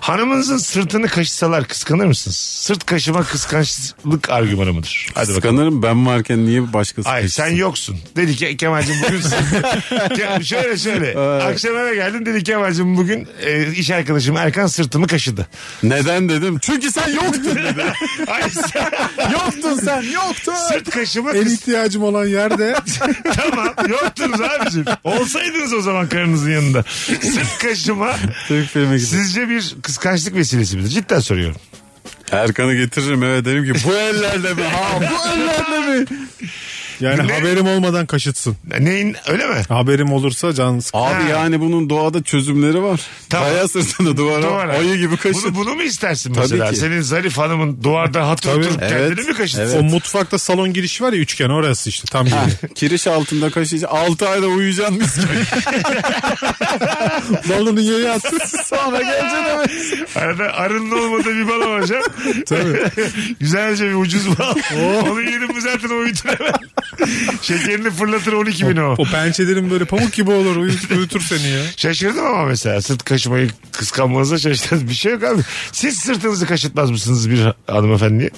Speaker 2: Hanımınızın sırtını kaşısalar kıskanır mısınız? Sırt kaşıma kıskançlık argümanı mıdır? Hadi bakalım.
Speaker 4: Kıskanırım ben varken niye başkası
Speaker 2: Hayır sen
Speaker 4: kaçsın?
Speaker 2: yoksun. Dedi ki Kemal'cim bugün sırt- Ke- şöyle şöyle. Akşam eve geldim dedi Kemal'cim bugün e, iş arkadaşım Erkan sırtımı kaşıdı.
Speaker 4: Neden dedim? Çünkü sen yoktun dedi.
Speaker 2: Ay sen-
Speaker 4: yoktun sen yoktun.
Speaker 2: sırt kaşıma
Speaker 3: En
Speaker 2: kıs-
Speaker 3: ihtiyacım olan yerde
Speaker 2: tamam yoktunuz abicim. Olsaydınız o zaman karınızın yanında. Sırt kaşıma
Speaker 4: Türk filmi gibi.
Speaker 2: Sizce bir kıskançlık vesilesi midir? Cidden soruyorum.
Speaker 4: Erkan'ı getiririm eve derim ki bu ellerle mi? Ha bu ellerle mi?
Speaker 3: yani
Speaker 2: Ne?
Speaker 3: haberim olmadan kaşıtsın.
Speaker 2: Neyin öyle mi?
Speaker 3: Haberim olursa can sıkı.
Speaker 4: Abi
Speaker 2: Ha.
Speaker 4: yani bunun doğada çözümleri var.
Speaker 2: Tamam.
Speaker 4: Kaya sırtını duvara,
Speaker 2: Duvara.
Speaker 4: ayı gibi kaşın.
Speaker 2: Bunu, bunu mu istersin
Speaker 4: Tabii
Speaker 2: mesela?
Speaker 4: ki.
Speaker 2: Senin zarif hanımın duvarda hatır
Speaker 3: Tabii.
Speaker 2: oturup kendini
Speaker 4: Evet.
Speaker 2: mi kaşıtsın?
Speaker 3: O mutfakta salon girişi var ya üçgen orası işte tam
Speaker 4: Ha,
Speaker 3: gibi.
Speaker 4: Kiriş altında kaşıyacak. 6 ayda uyuyacaksın mis gibi.
Speaker 3: Balonu yere at.
Speaker 4: Sonra geleceksin eve.
Speaker 2: Arada arının olmadığı bir bal alacağım. Güzelce bir ucuz bal.
Speaker 4: Oh.
Speaker 2: Onu yedim mi zaten uyutur hemen. Şekerini fırlatır 12 bin o.
Speaker 3: O pençelerin böyle pamuk gibi olur uyut, uyutur seni ya.
Speaker 2: Şaşırdım ama mesela sırt kaşımayı kıskanmanıza şaşırdım. Bir şey yok abi. Siz sırtınızı kaşıtmaz mısınız bir hanımefendiye?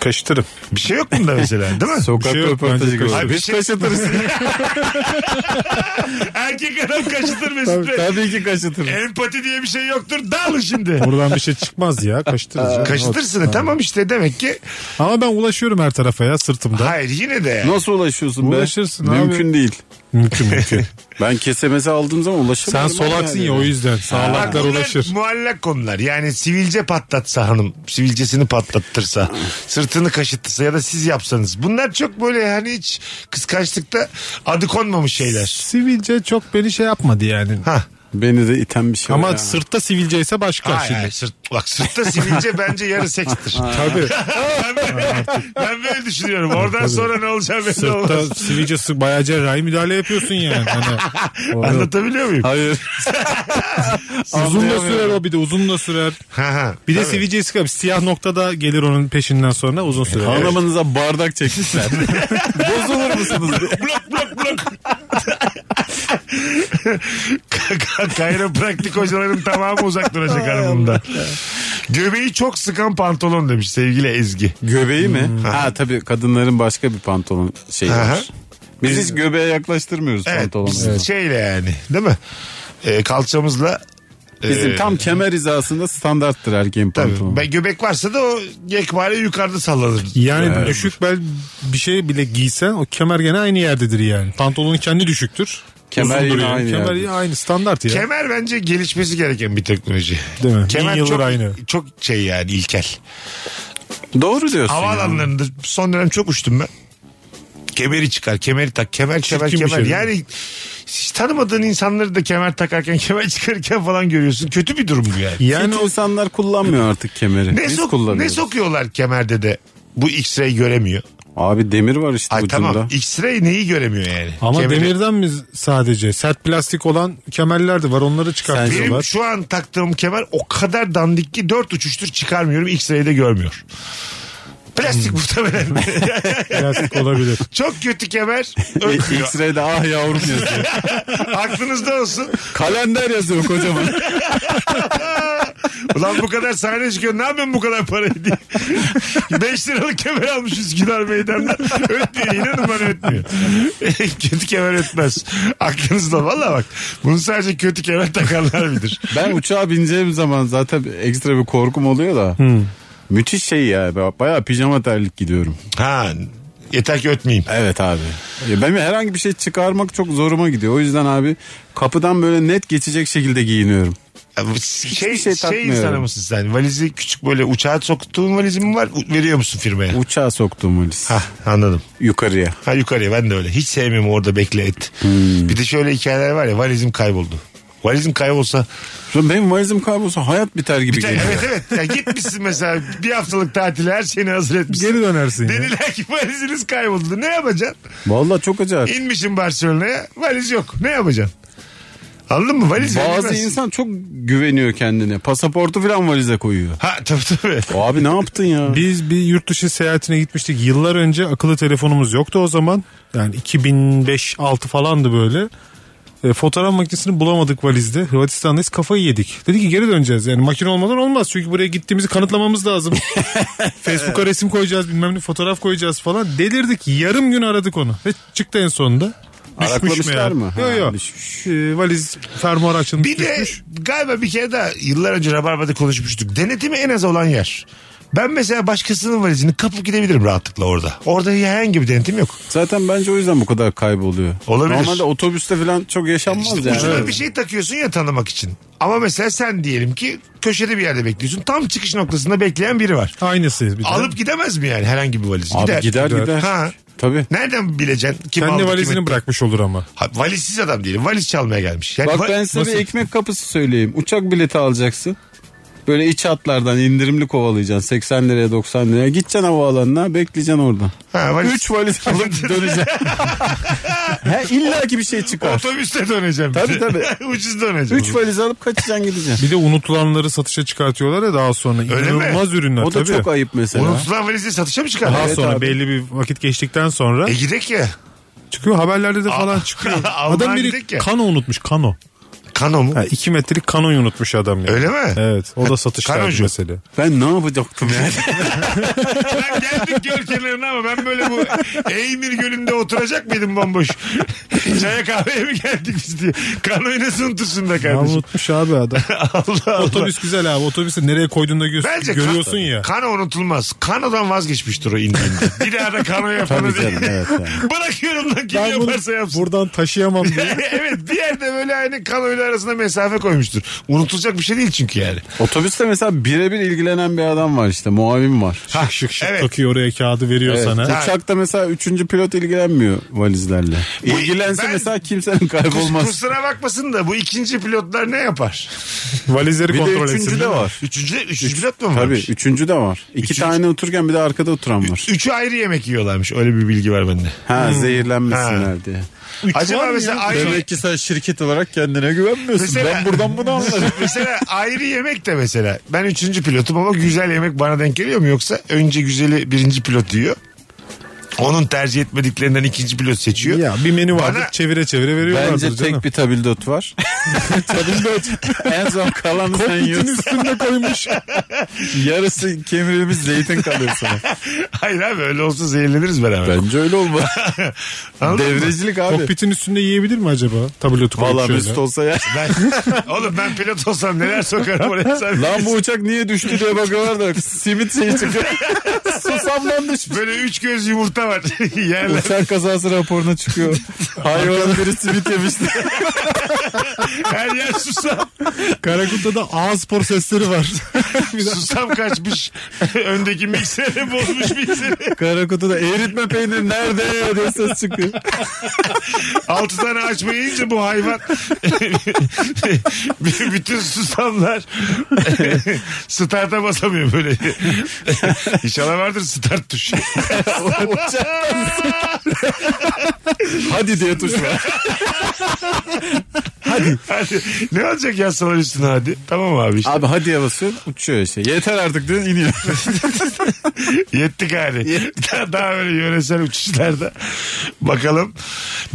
Speaker 3: Kaşıtırım.
Speaker 2: Bir şey yok bunda mesela değil mi?
Speaker 4: Sokak
Speaker 3: şey yok,
Speaker 4: röportajı
Speaker 3: bence
Speaker 4: gibi.
Speaker 2: kaşın.
Speaker 4: Abi Biz kaşıtırız.
Speaker 2: Erkek adam kaşıtır Mesut Bey.
Speaker 4: Tabii ki kaşıtırız.
Speaker 2: Empati diye bir şey yoktur. Dağılın şimdi.
Speaker 3: Buradan bir şey çıkmaz ya kaşıtırız. ya.
Speaker 2: Kaşıtırsın. E, tamam işte demek ki.
Speaker 3: Ama ben ulaşıyorum her tarafa ya sırtımda.
Speaker 2: Hayır yine de. yani.
Speaker 4: Nasıl ulaşıyorsun be?
Speaker 3: Ulaşırsın abi.
Speaker 4: Mümkün değil.
Speaker 3: Mümkün mümkün.
Speaker 4: Ben kesemesi aldığım zaman
Speaker 3: Sen
Speaker 4: ulaşamıyorum.
Speaker 3: solaksın
Speaker 4: yani.
Speaker 3: ya o yüzden
Speaker 2: Bak
Speaker 3: sağlaklar
Speaker 2: bunlar
Speaker 3: ulaşır.
Speaker 2: Muallak konular. Yani sivilce patlatsa hanım, sivilcesini patlattırsa, sırtını kaşıttırsa ya da siz yapsanız. Bunlar çok böyle hani hiç kıskançlıkta adı konmamış şeyler.
Speaker 3: Sivilce çok beni şey yapmadı yani.
Speaker 2: Ha.
Speaker 4: Beni de iten bir şey
Speaker 3: Ama
Speaker 4: var ya.
Speaker 3: sırtta sivilce ise başka
Speaker 2: Hayır,
Speaker 3: şimdi.
Speaker 2: hayır, sırt, bak sırtta sivilce bence yarı sekstir. Tabii. ben, böyle, ben böyle düşünüyorum. Oradan sonra ne olacağı belli olmaz.
Speaker 3: Sırtta sivilce sık bayağı cerrahi müdahale yapıyorsun yani. Hani
Speaker 2: Anlatabiliyor muyum?
Speaker 4: Hayır.
Speaker 3: uzun da
Speaker 4: Anlayamıyorum.
Speaker 3: sürer o bir de uzun da sürer.
Speaker 2: Ha, ha.
Speaker 3: Bir de sivilce sıkar. Siyah nokta da gelir onun peşinden sonra uzun sürer.
Speaker 4: Hanımınıza bardak çekmişler. Bozulur musunuz?
Speaker 2: blok blok blok. Kayropraktik hocaların tamamı uzak duracak hanımından. Göbeği çok sıkan pantolon demiş sevgili Ezgi.
Speaker 4: Göbeği mi? Ha tabii kadınların başka bir pantolon şeyi
Speaker 2: Hmm. Aha.
Speaker 4: var. Biz hiç göbeğe yaklaştırmıyoruz
Speaker 2: Evet,
Speaker 4: pantolonu.
Speaker 2: biz şeyle yani değil mi? Ee, kalçamızla
Speaker 4: Bizim
Speaker 2: e,
Speaker 4: tam kemer hizasında standarttır erkeğin pantolonu.
Speaker 2: tabii. Ben göbek varsa da o yekpare yukarıda sallanır.
Speaker 3: Yani düşük bel bir şey bile giysen o kemer gene aynı yerdedir yani. Pantolonun kendi düşüktür.
Speaker 4: Kemer
Speaker 3: Uzundur
Speaker 4: yine
Speaker 3: yani.
Speaker 4: aynı
Speaker 3: Kemer
Speaker 4: yerde.
Speaker 3: yine aynı standart ya.
Speaker 2: Kemer bence gelişmesi gereken bir teknoloji.
Speaker 3: Değil mi?
Speaker 2: Kemer
Speaker 3: Bin yıldır
Speaker 2: çok,
Speaker 3: aynı.
Speaker 2: çok şey yani ilkel.
Speaker 4: Doğru diyorsun. ya.
Speaker 2: Havaalanlarında son dönem çok uçtum ben. Kemeri çıkar, kemeri tak, kemer, kemer,
Speaker 3: Çirkin bir
Speaker 2: kemer.
Speaker 3: şey.
Speaker 2: yani hiç tanımadığın insanları da kemer takarken, kemer çıkarırken falan görüyorsun. Kötü bir durum bu yani.
Speaker 4: Yani
Speaker 3: Yani o
Speaker 4: insanlar kullanmıyor artık kemeri.
Speaker 2: Ne,
Speaker 4: Biz
Speaker 2: sok ne
Speaker 4: kullanıyoruz.
Speaker 2: sokuyorlar kemerde de bu X-ray göremiyor.
Speaker 4: Abi demir var işte
Speaker 2: Ay
Speaker 4: ucunda.
Speaker 2: tamam X-ray neyi göremiyor yani?
Speaker 3: ama
Speaker 2: Kemeri-
Speaker 3: demirden mi sadece? Sert plastik olan kemerler de var. Onları
Speaker 2: Benim
Speaker 3: çıkartıyorlar.
Speaker 2: şu an taktığım kemer o kadar dandik ki dört uçuştur çıkarmıyorum X-ray'de görmüyor.
Speaker 3: Hmm.
Speaker 2: Plastik muhtemelen.
Speaker 3: plastik olabilir.
Speaker 2: Çok kötü kemer
Speaker 4: E,
Speaker 2: öpüyor.
Speaker 4: X-ray'de ah yavrum yazıyor.
Speaker 2: Aklınızda olsun.
Speaker 4: Kalender yazıyor kocaman.
Speaker 2: Ulan bu kadar sahne çıkıyor. Ne yapayım bu kadar parayı diye. 5 liralık kemer almış Üsküdar Meydan'dan. Ötmüyor. İnanın bana ötmüyor. kötü kemer ötmez. Aklınızda valla bak. Bunu sadece kötü kemer takanlar bilir.
Speaker 4: Ben uçağa bineceğim zaman zaten ekstra bir korkum oluyor da.
Speaker 2: Hmm.
Speaker 4: Müthiş şey ya. Bayağı pijama terlik gidiyorum.
Speaker 2: Ha yeter ki ötmeyeyim.
Speaker 4: Evet abi. Ya Benim herhangi bir şey çıkarmak çok zoruma gidiyor. O yüzden abi kapıdan böyle net geçecek şekilde giyiniyorum.
Speaker 2: Ya bu Şey,
Speaker 4: Hiçbir şey
Speaker 2: şey,
Speaker 4: takmıyorum.
Speaker 2: insanı mısın sen? Valizi küçük böyle uçağa soktuğun valizi mi var? U- Veriyor musun firmaya?
Speaker 4: Uçağa soktum valiz.
Speaker 2: Ha anladım.
Speaker 4: Yukarıya.
Speaker 2: Ha yukarıya ben de öyle. Hiç sevmiyorum orada bekle et.
Speaker 4: Hmm.
Speaker 2: Bir de şöyle hikayeler var ya valizim kayboldu. Valizim kaybolsa
Speaker 4: Sonra benim valizim kaybolsa hayat biter gibi
Speaker 2: Bir tane-
Speaker 4: geliyor.
Speaker 2: evet evet. Ya gitmişsin mesela bir haftalık tatile her şeyini hazır etmişsin.
Speaker 3: Geri dönersin ya.
Speaker 2: Dediler ki valiziniz kayboldu. Ne yapacaksın?
Speaker 4: Vallahi çok acayip.
Speaker 2: İnmişsin Barcelona'ya valiz yok. Ne yapacaksın? Anladın mı? Valiz
Speaker 4: Bazı
Speaker 2: verilmez.
Speaker 4: insan çok güveniyor kendine. Pasaportu falan valize koyuyor.
Speaker 2: Ha tabii tabii.
Speaker 4: O abi ne yaptın ya?
Speaker 3: Biz bir yurt dışı seyahatine gitmiştik. Yıllar önce akıllı telefonumuz yoktu o zaman. Yani 2005-6 falandı böyle. E, fotoğraf makinesini bulamadık valizde. Hırvatistan'dayız kafayı yedik. Dedi ki geri döneceğiz yani makine olmadan olmaz. Çünkü buraya gittiğimizi kanıtlamamız lazım. Facebook'a resim koyacağız bilmem ne fotoğraf koyacağız falan. Delirdik yarım gün aradık onu. Ve çıktı en sonunda. Düşmüş
Speaker 4: Araklamışlar
Speaker 3: meğer.
Speaker 4: mı? Ha,
Speaker 3: Yok yok.
Speaker 4: düşmüş.
Speaker 3: E, valiz fermuar açılmış
Speaker 2: Bir de
Speaker 3: düşmüş.
Speaker 2: galiba bir kere daha yıllar önce Rabarba'da konuşmuştuk. Denetimi en az olan yer. Ben mesela başkasının valizini kapıp gidebilirim rahatlıkla orada. Orada herhangi bir denetim yok.
Speaker 4: Zaten bence o yüzden bu kadar kayboluyor.
Speaker 2: Olabilir.
Speaker 4: Normalde otobüste falan çok yaşanmaz
Speaker 2: İşte
Speaker 4: yani.
Speaker 2: ucuna
Speaker 4: Evet.
Speaker 2: bir şey takıyorsun ya tanımak için. Ama mesela sen diyelim ki köşede bir yerde bekliyorsun. Tam çıkış noktasında bekleyen biri var.
Speaker 3: Aynısı bir de.
Speaker 2: Alıp gidemez mi yani herhangi bir valiz?
Speaker 4: Abi gider gider.
Speaker 2: Ha.
Speaker 4: Tabii.
Speaker 2: Nereden bileceksin? Kim
Speaker 3: kendi
Speaker 2: aldı,
Speaker 3: valizini
Speaker 2: kim-
Speaker 3: bırakmış olur ama.
Speaker 2: Ha, valizsiz adam diyelim. Valiz çalmaya gelmiş. Yani
Speaker 4: Bak
Speaker 2: va-
Speaker 4: ben size
Speaker 3: nasıl-
Speaker 4: bir ekmek kapısı söyleyeyim. Uçak bileti alacaksın. Böyle iç hatlardan indirimli kovalayacaksın. 80 liraya 90 liraya. Gideceksin havaalanına bekleyeceksin orada.
Speaker 2: Ha, valiz-
Speaker 4: 3 valiz alıp döneceksin. He, İlla ki bir şey çıkar.
Speaker 2: Otobüste döneceğim.
Speaker 4: Tabii, tabii.
Speaker 2: Ucuz döneceğim.
Speaker 4: 3 valiz alıp kaçacaksın gideceksin.
Speaker 3: Bir de unutulanları satışa çıkartıyorlar ya daha sonra.
Speaker 2: Öyle mi?
Speaker 3: İnanılmaz ürünler
Speaker 4: O da
Speaker 3: tabii.
Speaker 4: çok ayıp mesela.
Speaker 2: Unutulan valizi satışa mı çıkar?
Speaker 3: Daha
Speaker 4: Evet
Speaker 3: sonra
Speaker 4: abi.
Speaker 3: belli bir vakit geçtikten sonra
Speaker 2: E gidek ya.
Speaker 3: çıkıyor haberlerde de falan
Speaker 2: Al-
Speaker 3: çıkıyor.
Speaker 2: Almanya
Speaker 3: adam biri
Speaker 2: gidecek ya.
Speaker 3: kano unutmuş kano.
Speaker 2: Kano mu?
Speaker 3: Ha, 2 metrelik kanoyu unutmuş adam yani.
Speaker 2: Öyle mi?
Speaker 3: Evet o da satışta
Speaker 2: Kanocu.
Speaker 3: mesele.
Speaker 4: Ben ne yapacaktım yani?
Speaker 2: Ben geldik göl kenarına ama ben böyle bu Eymir Gölü'nde oturacak mıydım bomboş? Çaya kahveye mi geldik biz diye. Kanoyu nasıl unutursun da
Speaker 3: Ya
Speaker 2: kardeşim?
Speaker 3: unutmuş abi adam.
Speaker 2: Allah Allah.
Speaker 3: Otobüs güzel abi otobüsü nereye koyduğunda gö-
Speaker 2: Bence
Speaker 3: görüyorsun
Speaker 2: kan-
Speaker 3: ya.
Speaker 2: Kano unutulmaz. Kano'dan vazgeçmiştir o indiğinde. Bir daha da kano yapanı
Speaker 4: Tabii
Speaker 2: değil.
Speaker 4: canım, evet yani.
Speaker 2: Bırakıyorum lan kim
Speaker 3: Ben bunu
Speaker 2: yaparsa yapsın.
Speaker 3: buradan taşıyamam diye.
Speaker 2: evet bir yerde böyle aynı kanoyla arasında mesafe koymuştur. Unutulacak bir şey değil çünkü yani.
Speaker 4: Otobüste mesela birebir ilgilenen bir adam var işte muavim var.
Speaker 3: Şık şık şık
Speaker 2: Evet.
Speaker 3: takıyor oraya kağıdı veriyor
Speaker 4: Evet,
Speaker 3: sana.
Speaker 4: Uçakta mesela üçüncü pilot ilgilenmiyor valizlerle. İlgilense
Speaker 2: ben-
Speaker 4: mesela kimsenin
Speaker 2: Kus,
Speaker 4: kaybolmaz.
Speaker 2: kusura bakmasın da bu ikinci pilotlar ne yapar?
Speaker 3: Valizleri
Speaker 4: Bir de
Speaker 3: kontrol
Speaker 4: üçüncü
Speaker 3: etsin.
Speaker 4: de
Speaker 3: değil mi?
Speaker 4: var.
Speaker 2: Üçüncü, üçüncü pilot mu varmış?
Speaker 4: Tabii üçüncü de var. İki
Speaker 2: Üçüncü-
Speaker 4: tane otururken bir de arkada oturan var.
Speaker 2: Üçü ayrı yemek yiyorlarmış. Öyle bir bilgi var bende.
Speaker 4: Ha zehirlenmesinler
Speaker 2: Ha.
Speaker 4: diye.
Speaker 2: Acaba mesela ayrı,
Speaker 4: ki sen şirket olarak kendine güvenmiyorsun.
Speaker 2: Mesela- Ben buradan
Speaker 4: bunu anlarım.
Speaker 2: mesela ayrı yemek de mesela. Ben üçüncü pilotum ama güzel yemek bana denk geliyor mu? Yoksa önce güzeli birinci pilot yiyor. Onun tercih etmediklerinden ikinci pilot seçiyor.
Speaker 3: Ya bir menü vardı
Speaker 2: Bana-
Speaker 3: çevire çevire veriyorlardır
Speaker 4: Bence tek
Speaker 3: canım.
Speaker 4: bir tabildot var. tabildot. en son kalanı sen yiyorsun. üstünde koymuş. Yarısı kemirilmiş zeytin kalıyor sana.
Speaker 2: Hayır abi öyle olsa zehirleniriz beraber.
Speaker 4: Bence öyle olmaz.
Speaker 2: Anladın mı?
Speaker 4: Devrecilik abi.
Speaker 3: Kokpitin üstünde yiyebilir mi acaba? Tablotu koyup
Speaker 4: Valla
Speaker 3: şöyle.
Speaker 4: Mesut olsa ya.
Speaker 2: Ben, oğlum ben pilot olsam neler sokarım oraya sen.
Speaker 4: Lan bu uçak niye düştü diye bakıyorlar da simit şeyi çıkıyor. Susamdan düşmüş.
Speaker 2: Böyle üç göz yumurta var. Yerler.
Speaker 4: Uçak kazası raporuna çıkıyor. Hayvan biri simit yemişti.
Speaker 2: Her yer susam.
Speaker 3: Karakut'ta da ağız spor sesleri var.
Speaker 2: Susam kaçmış. Öndeki mikseri bozmuş mikseri.
Speaker 4: Karakutu'da eritme peyniri nerede diye ses çıkıyor.
Speaker 2: Altı tane açmayı yiyince bu hayvan. B- Bütün susamlar starta basamıyor böyle. İnşallah vardır start tuşu.
Speaker 4: Uçaktan Hadi diye tuş var.
Speaker 2: Hadi. Ne olacak yazsalar üstüne hadi. Tamam abi işte.
Speaker 4: Abi hadiye basıyorsun uçuyor işte. Yeter artık diyor iniyor.
Speaker 2: Yetti gari. daha, daha böyle yöresel uçuşlarda. Bakalım.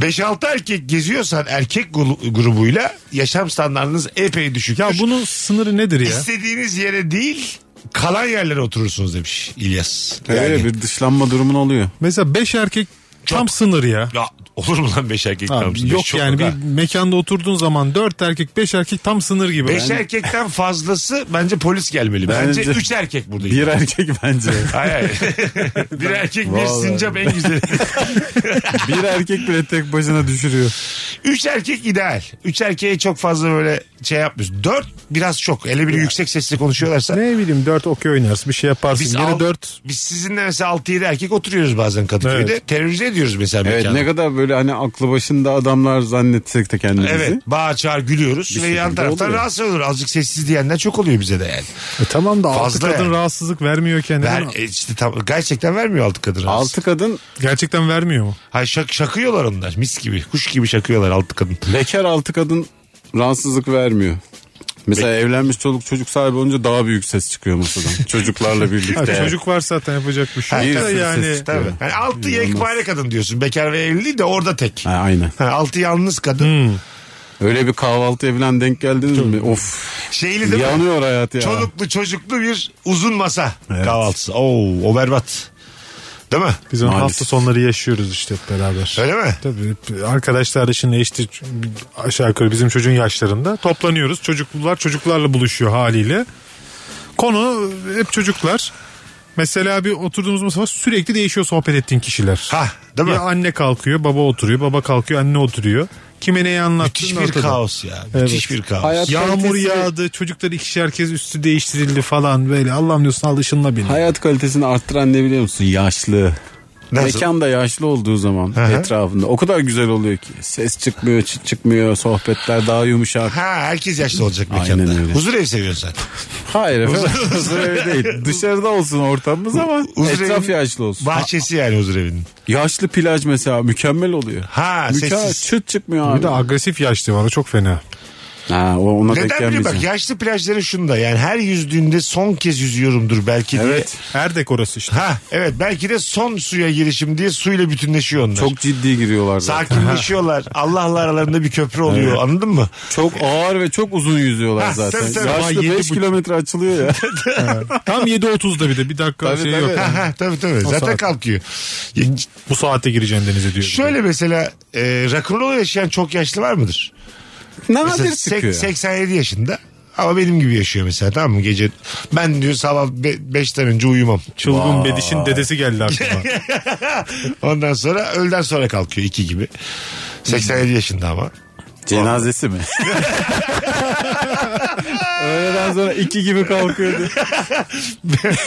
Speaker 2: 5-6 erkek geziyorsan erkek gru- grubuyla yaşam standartınız epey düşük.
Speaker 3: ya bunun sınırı nedir ya?
Speaker 2: İstediğiniz yere değil kalan yerlere oturursunuz demiş İlyas.
Speaker 4: Öyle bir dışlanma durumun oluyor.
Speaker 3: Mesela 5 erkek tam sınır ya.
Speaker 2: Ya olur mu lan beş erkek
Speaker 3: Ha,
Speaker 2: tam sınır?
Speaker 3: yok
Speaker 2: Çok
Speaker 3: yani
Speaker 2: ha.
Speaker 3: bir mekanda oturduğun zaman 4 erkek 5 erkek tam sınır gibi.
Speaker 2: Beş
Speaker 3: Yani
Speaker 2: erkekten fazlası bence polis gelmeli. Bence,
Speaker 4: Bence-
Speaker 2: üç erkek burada.
Speaker 4: Bir erkek bence.
Speaker 2: Hayır, hayır. bir erkek bir
Speaker 4: Vallahi.
Speaker 2: sincap en güzeli.
Speaker 4: Bir erkek bile tek başına düşürüyor.
Speaker 2: Üç erkek ideal. Üç erkeğe çok fazla böyle şey yapmıyoruz. Dört biraz çok. Hele bir yüksek sesle konuşuyorlarsa.
Speaker 3: ne bileyim 4 okey oynarsın bir şey yaparsın.
Speaker 2: Biz,
Speaker 3: Yine
Speaker 2: al-
Speaker 3: 4
Speaker 2: biz sizinle mesela 6-7 erkek oturuyoruz bazen Kadıköy'de. Terörize ediyoruz mesela
Speaker 4: Evet
Speaker 2: mekanı.
Speaker 4: ne kadar böyle hani aklı başında adamlar zannetsek de kendimizi.
Speaker 2: Evet bağır çağır gülüyoruz
Speaker 4: Bir
Speaker 2: ve yan
Speaker 4: şekilde
Speaker 2: taraftan
Speaker 4: oluyor.
Speaker 2: rahatsız olur. Azıcık sessiz diyenler çok oluyor bize de yani.
Speaker 3: E tamam da altı
Speaker 2: Fazla
Speaker 3: kadın
Speaker 2: yani.
Speaker 3: rahatsızlık vermiyor kendine.
Speaker 2: Ver, e, işte tam, gerçekten vermiyor altı kadın rahatsız.
Speaker 4: Altı kadın
Speaker 3: Gerçekten vermiyor mu?
Speaker 2: Hayır şak, şakıyorlar onlar mis gibi. Kuş gibi şakıyorlar altı kadın.
Speaker 4: bekar altı kadın rahatsızlık vermiyor. Mesela evlenmiş çoluk çocuk sahibi olunca daha büyük ses çıkıyor masadan. Çocuklarla birlikte.
Speaker 3: Ha, Çocuk var zaten yapacak bir şey.
Speaker 4: Ha,
Speaker 3: yok da
Speaker 4: tabii,
Speaker 3: yani
Speaker 4: sessiz.
Speaker 2: Tabii. Yani altı yekpare kadın diyorsun. Bekar ve evli değil de orada tek.
Speaker 4: Ha, Hmm. aynen.
Speaker 2: Ha, altı yalnız kadın.
Speaker 4: Öyle bir kahvaltıya falan denk geldiniz mi? Of.
Speaker 2: Şeyli değil mi?
Speaker 4: Yanıyor hayat ya.
Speaker 2: Çoluklu çocuklu bir uzun masa kahvaltısı. Oo, o berbat. Değil mi?
Speaker 3: biz onun
Speaker 4: Maalesef.
Speaker 3: hafta sonları yaşıyoruz işte hep beraber.
Speaker 2: Öyle mi?
Speaker 3: Tabii arkadaşlar şimdi işte aşağı yukarı bizim çocuğun yaşlarında toplanıyoruz. Çocuklar çocuklarla buluşuyor haliyle. Konu hep çocuklar. Mesela bir oturduğumuz masa var, sürekli değişiyor sohbet ettiğin kişiler.
Speaker 2: Ha, değil mi?
Speaker 3: Ya anne kalkıyor baba oturuyor baba kalkıyor anne oturuyor. Kime neyi anlattın
Speaker 2: Müthiş bir kaos ya. Müthiş bir kaos.
Speaker 4: Hayat-
Speaker 3: Yağmur
Speaker 4: Kalitesi-
Speaker 3: yağdı çocuklar ikişer kez üstü değiştirildi falan böyle Allah'ım diyorsun al ışınla beni.
Speaker 4: Hayat kalitesini arttıran ne biliyor musun? Yaşlı.
Speaker 2: Nasıl?
Speaker 4: Mekan da yaşlı olduğu zaman etrafında o kadar güzel oluyor ki. Ses çıkmıyor, çıt çıkmıyor, sohbetler daha yumuşak.
Speaker 2: Ha herkes yaşlı olacak
Speaker 4: Aynen
Speaker 2: mekanda.
Speaker 4: öyle.
Speaker 2: Huzur evi seviyorsun sen.
Speaker 4: Hayır efendim. huzur evi değil. Dışarıda olsun ortamımız ama
Speaker 2: Huzur
Speaker 4: etraf
Speaker 2: evinin
Speaker 4: yaşlı olsun.
Speaker 2: Bahçesi yani huzur evinin.
Speaker 4: Yaşlı plaj mesela mükemmel oluyor.
Speaker 2: Ha
Speaker 4: Mükemmel
Speaker 2: sessiz.
Speaker 4: çıt çıkmıyor abi.
Speaker 3: Bir de agresif yaşlı var o çok fena.
Speaker 4: Ha, o ona denk
Speaker 2: Neden biliyor
Speaker 4: gelmeyecek.
Speaker 2: bak yaşlı plajları şunda yani her yüzdüğünde son kez yüzüyorumdur belki diye.
Speaker 4: Evet.
Speaker 3: Erdek orası işte.
Speaker 2: Ha evet belki de son suya girişim diye suyla bütünleşiyor onlar.
Speaker 4: Çok ciddi giriyorlar. zaten.
Speaker 2: Sakinleşiyorlar. Allah'la aralarında bir köprü oluyor anladın mı?
Speaker 4: Çok ağır ve çok uzun yüzüyorlar
Speaker 2: Ha,
Speaker 4: zaten.
Speaker 2: tabii, tabii.
Speaker 4: Yaşlı
Speaker 3: Ay, yedi
Speaker 4: 5
Speaker 3: buçuk.
Speaker 4: kilometre açılıyor ya.
Speaker 3: Tam 7.30'da bir de bir dakika
Speaker 4: Tabii,
Speaker 3: şey
Speaker 4: tabii.
Speaker 3: yok.
Speaker 2: Ha, ha, tabii tabii zaten
Speaker 3: saat.
Speaker 2: kalkıyor. Ya,
Speaker 3: Bu saatte gireceğim denize diyor.
Speaker 2: Şöyle mesela e, rock'n'roll yaşayan çok yaşlı var mıdır? Mesela
Speaker 4: Nadir
Speaker 2: sek-
Speaker 4: çıkıyor.
Speaker 2: 87 yaşında ama benim gibi yaşıyor mesela tamam mı gece ben diyor sabah 5'ten önce uyumam.
Speaker 3: Çılgın Bediş'in dedesi geldi aklıma.
Speaker 2: Ondan sonra öğleden sonra kalkıyor iki gibi. 87 yaşında ama.
Speaker 4: Cenazesi mi? Öğleden sonra iki gibi kalkıyordu.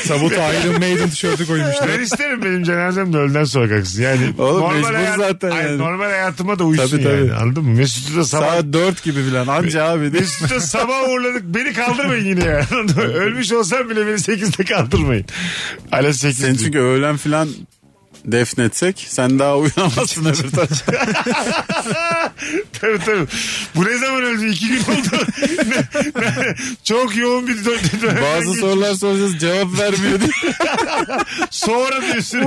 Speaker 3: Tabut Iron Maiden tişörtü koymuştu.
Speaker 2: Ben isterim benim cenazem de öğleden sonra kalksın. Yani
Speaker 4: Oğlum mecbur zaten
Speaker 2: Ay,
Speaker 4: yani.
Speaker 2: normal hayatıma da uysun
Speaker 4: Tabii,
Speaker 2: yani.
Speaker 4: tabii.
Speaker 2: Anladın mı? Mesut'u da sabah
Speaker 4: Saat dört gibi filan anca abi. de.
Speaker 2: Mesut'u da sabah uğurladık. Beni kaldırmayın yine ya. Anladın mı? Ölmüş olsam bile beni 8'de kaldırmayın. Ala 8.
Speaker 4: Seni çünkü öğlen filan defnetsek sen daha uyanamazsın öbür tarafa.
Speaker 2: tabii tabii. Bu ne zaman öldü? İki gün oldu. Ne- ne- Çok yoğun bir dö- dönem.
Speaker 4: Bazı sorular soracağız cevap vermiyor diye.
Speaker 2: Sonra diyorsun.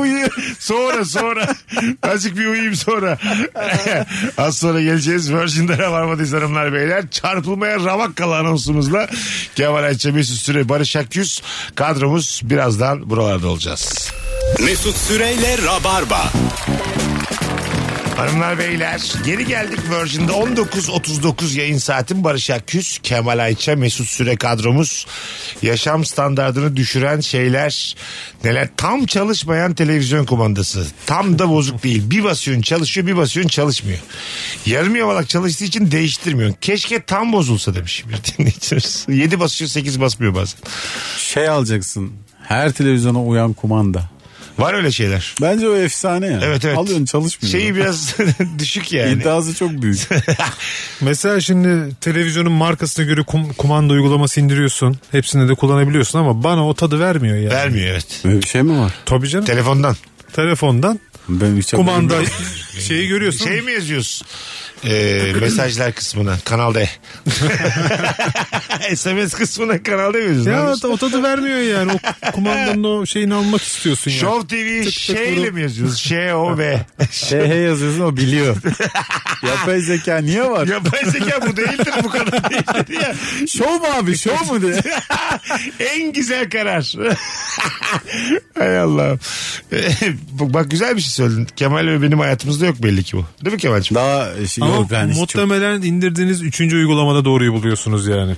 Speaker 2: Sonra sonra. Azıcık bir uyuyayım sonra. Az sonra geleceğiz. Virgin'de Rabarba'dayız hanımlar beyler. Çarpılmaya Ravakkala anonsumuzla Kemal Ayça Mesut Süre Barış Akyüz kadromuz birazdan buralarda olacağız.
Speaker 1: Mesut Süreyle Rabarba.
Speaker 2: Hanımlar beyler geri geldik Virgin'de 19.39 yayın saatin Barış Akküz, Kemal Ayça, Mesut Süre kadromuz. Yaşam standartını düşüren şeyler neler? Tam çalışmayan televizyon kumandası. Tam da bozuk değil. Bir basıyorsun çalışıyor bir basıyorsun çalışmıyor. Yarım yamalak çalıştığı için değiştirmiyorsun. Keşke tam bozulsa demiş bir dinleyicimiz. 7 basıyor 8 basmıyor bazen.
Speaker 4: Şey alacaksın her televizyona uyan kumanda.
Speaker 2: Var öyle şeyler.
Speaker 4: Bence o efsane ya.
Speaker 2: Evet evet.
Speaker 4: Alıyorsun çalışmıyor.
Speaker 2: Şeyi biraz düşük yani.
Speaker 4: İddiası çok büyük.
Speaker 3: Mesela şimdi televizyonun markasına göre kum- kumanda uygulaması indiriyorsun. Hepsinde de kullanabiliyorsun ama bana o tadı vermiyor yani.
Speaker 2: Vermiyor evet.
Speaker 4: Böyle bir şey mi var?
Speaker 3: Tabii canım.
Speaker 2: Telefondan.
Speaker 3: Telefondan
Speaker 4: Ben hiç
Speaker 3: kumanda şeyi görüyorsun.
Speaker 2: Şey mi yazıyorsun? Ee, mesajlar kısmına Kanal D. SMS kısmına Kanal D mi yazıyorsun?
Speaker 3: ya
Speaker 2: Ya,
Speaker 3: o tadı vermiyor yani. O kumandanın o şeyini almak istiyorsun ya.
Speaker 2: Show TV şeyle mi yazıyorsun? Şey o be.
Speaker 4: Şey hey yazıyorsun o biliyor. Yapay zeka niye var?
Speaker 2: Yapay zeka bu değildir bu kadar değildir ya.
Speaker 4: Şov mu abi şov mu diye.
Speaker 2: En güzel karar. Hay Allah'ım. Bak, Ee, bak güzel bir şey söyledin. Kemal ve benim hayatımızda yok belli ki bu. Değil mi Kemal'cim?
Speaker 4: Daha şey,
Speaker 3: Ama
Speaker 4: yok ben hiç çok-
Speaker 3: muhtemelen indirdiğiniz üçüncü uygulamada doğruyu buluyorsunuz yani.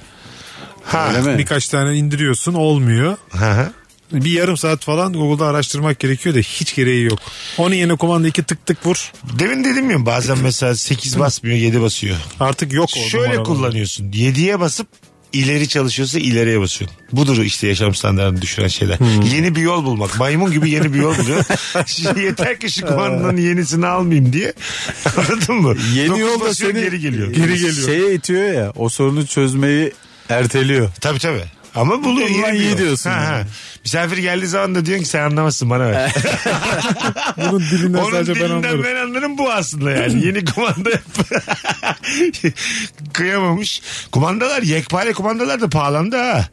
Speaker 2: Ha.
Speaker 4: Öyle mi?
Speaker 3: Birkaç tane indiriyorsun olmuyor.
Speaker 2: Ha, ha.
Speaker 3: Bir yarım saat falan Google'da araştırmak gerekiyor da hiç gereği yok. Onun yerine kumanda iki tık tık vur.
Speaker 2: Demin dedim ya bazen mesela 8 basmıyor 7 basıyor.
Speaker 3: Artık yok o
Speaker 2: Şöyle
Speaker 3: numaralar.
Speaker 2: kullanıyorsun. 7'ye basıp ileri çalışıyorsa ileriye basıyorsun. Budur işte yaşam standartını düşüren şeyler.
Speaker 4: Hmm.
Speaker 2: Yeni bir yol bulmak. Maymun gibi yeni bir yol buluyor. Şimdi Yeter ki
Speaker 4: Ee.
Speaker 2: şu kumandanın yenisini almayayım diye. Anladın mı?
Speaker 4: Yeni
Speaker 2: Dokuz
Speaker 4: yolda
Speaker 2: basıyor,
Speaker 4: seni
Speaker 2: geri geliyor. Şey-
Speaker 4: Şeye itiyor ya o sorunu çözmeyi erteliyor.
Speaker 2: Tabii tabii. Ama buluyor
Speaker 4: Ulan
Speaker 2: yeni bir
Speaker 4: iyi
Speaker 2: yol.
Speaker 4: diyorsun
Speaker 2: Ha,
Speaker 4: yani.
Speaker 2: ha. Misafir geldiği zaman da diyorsun ki sen anlamazsın bana ver.
Speaker 3: Bunun dilinden
Speaker 2: Onun
Speaker 3: sadece ben
Speaker 2: dilinden ben
Speaker 3: anlarım.
Speaker 2: anlarım. bu aslında yani. Yeni kumanda kıyamamış. Kumandalar yekpare kumandalar da pahalandı ha.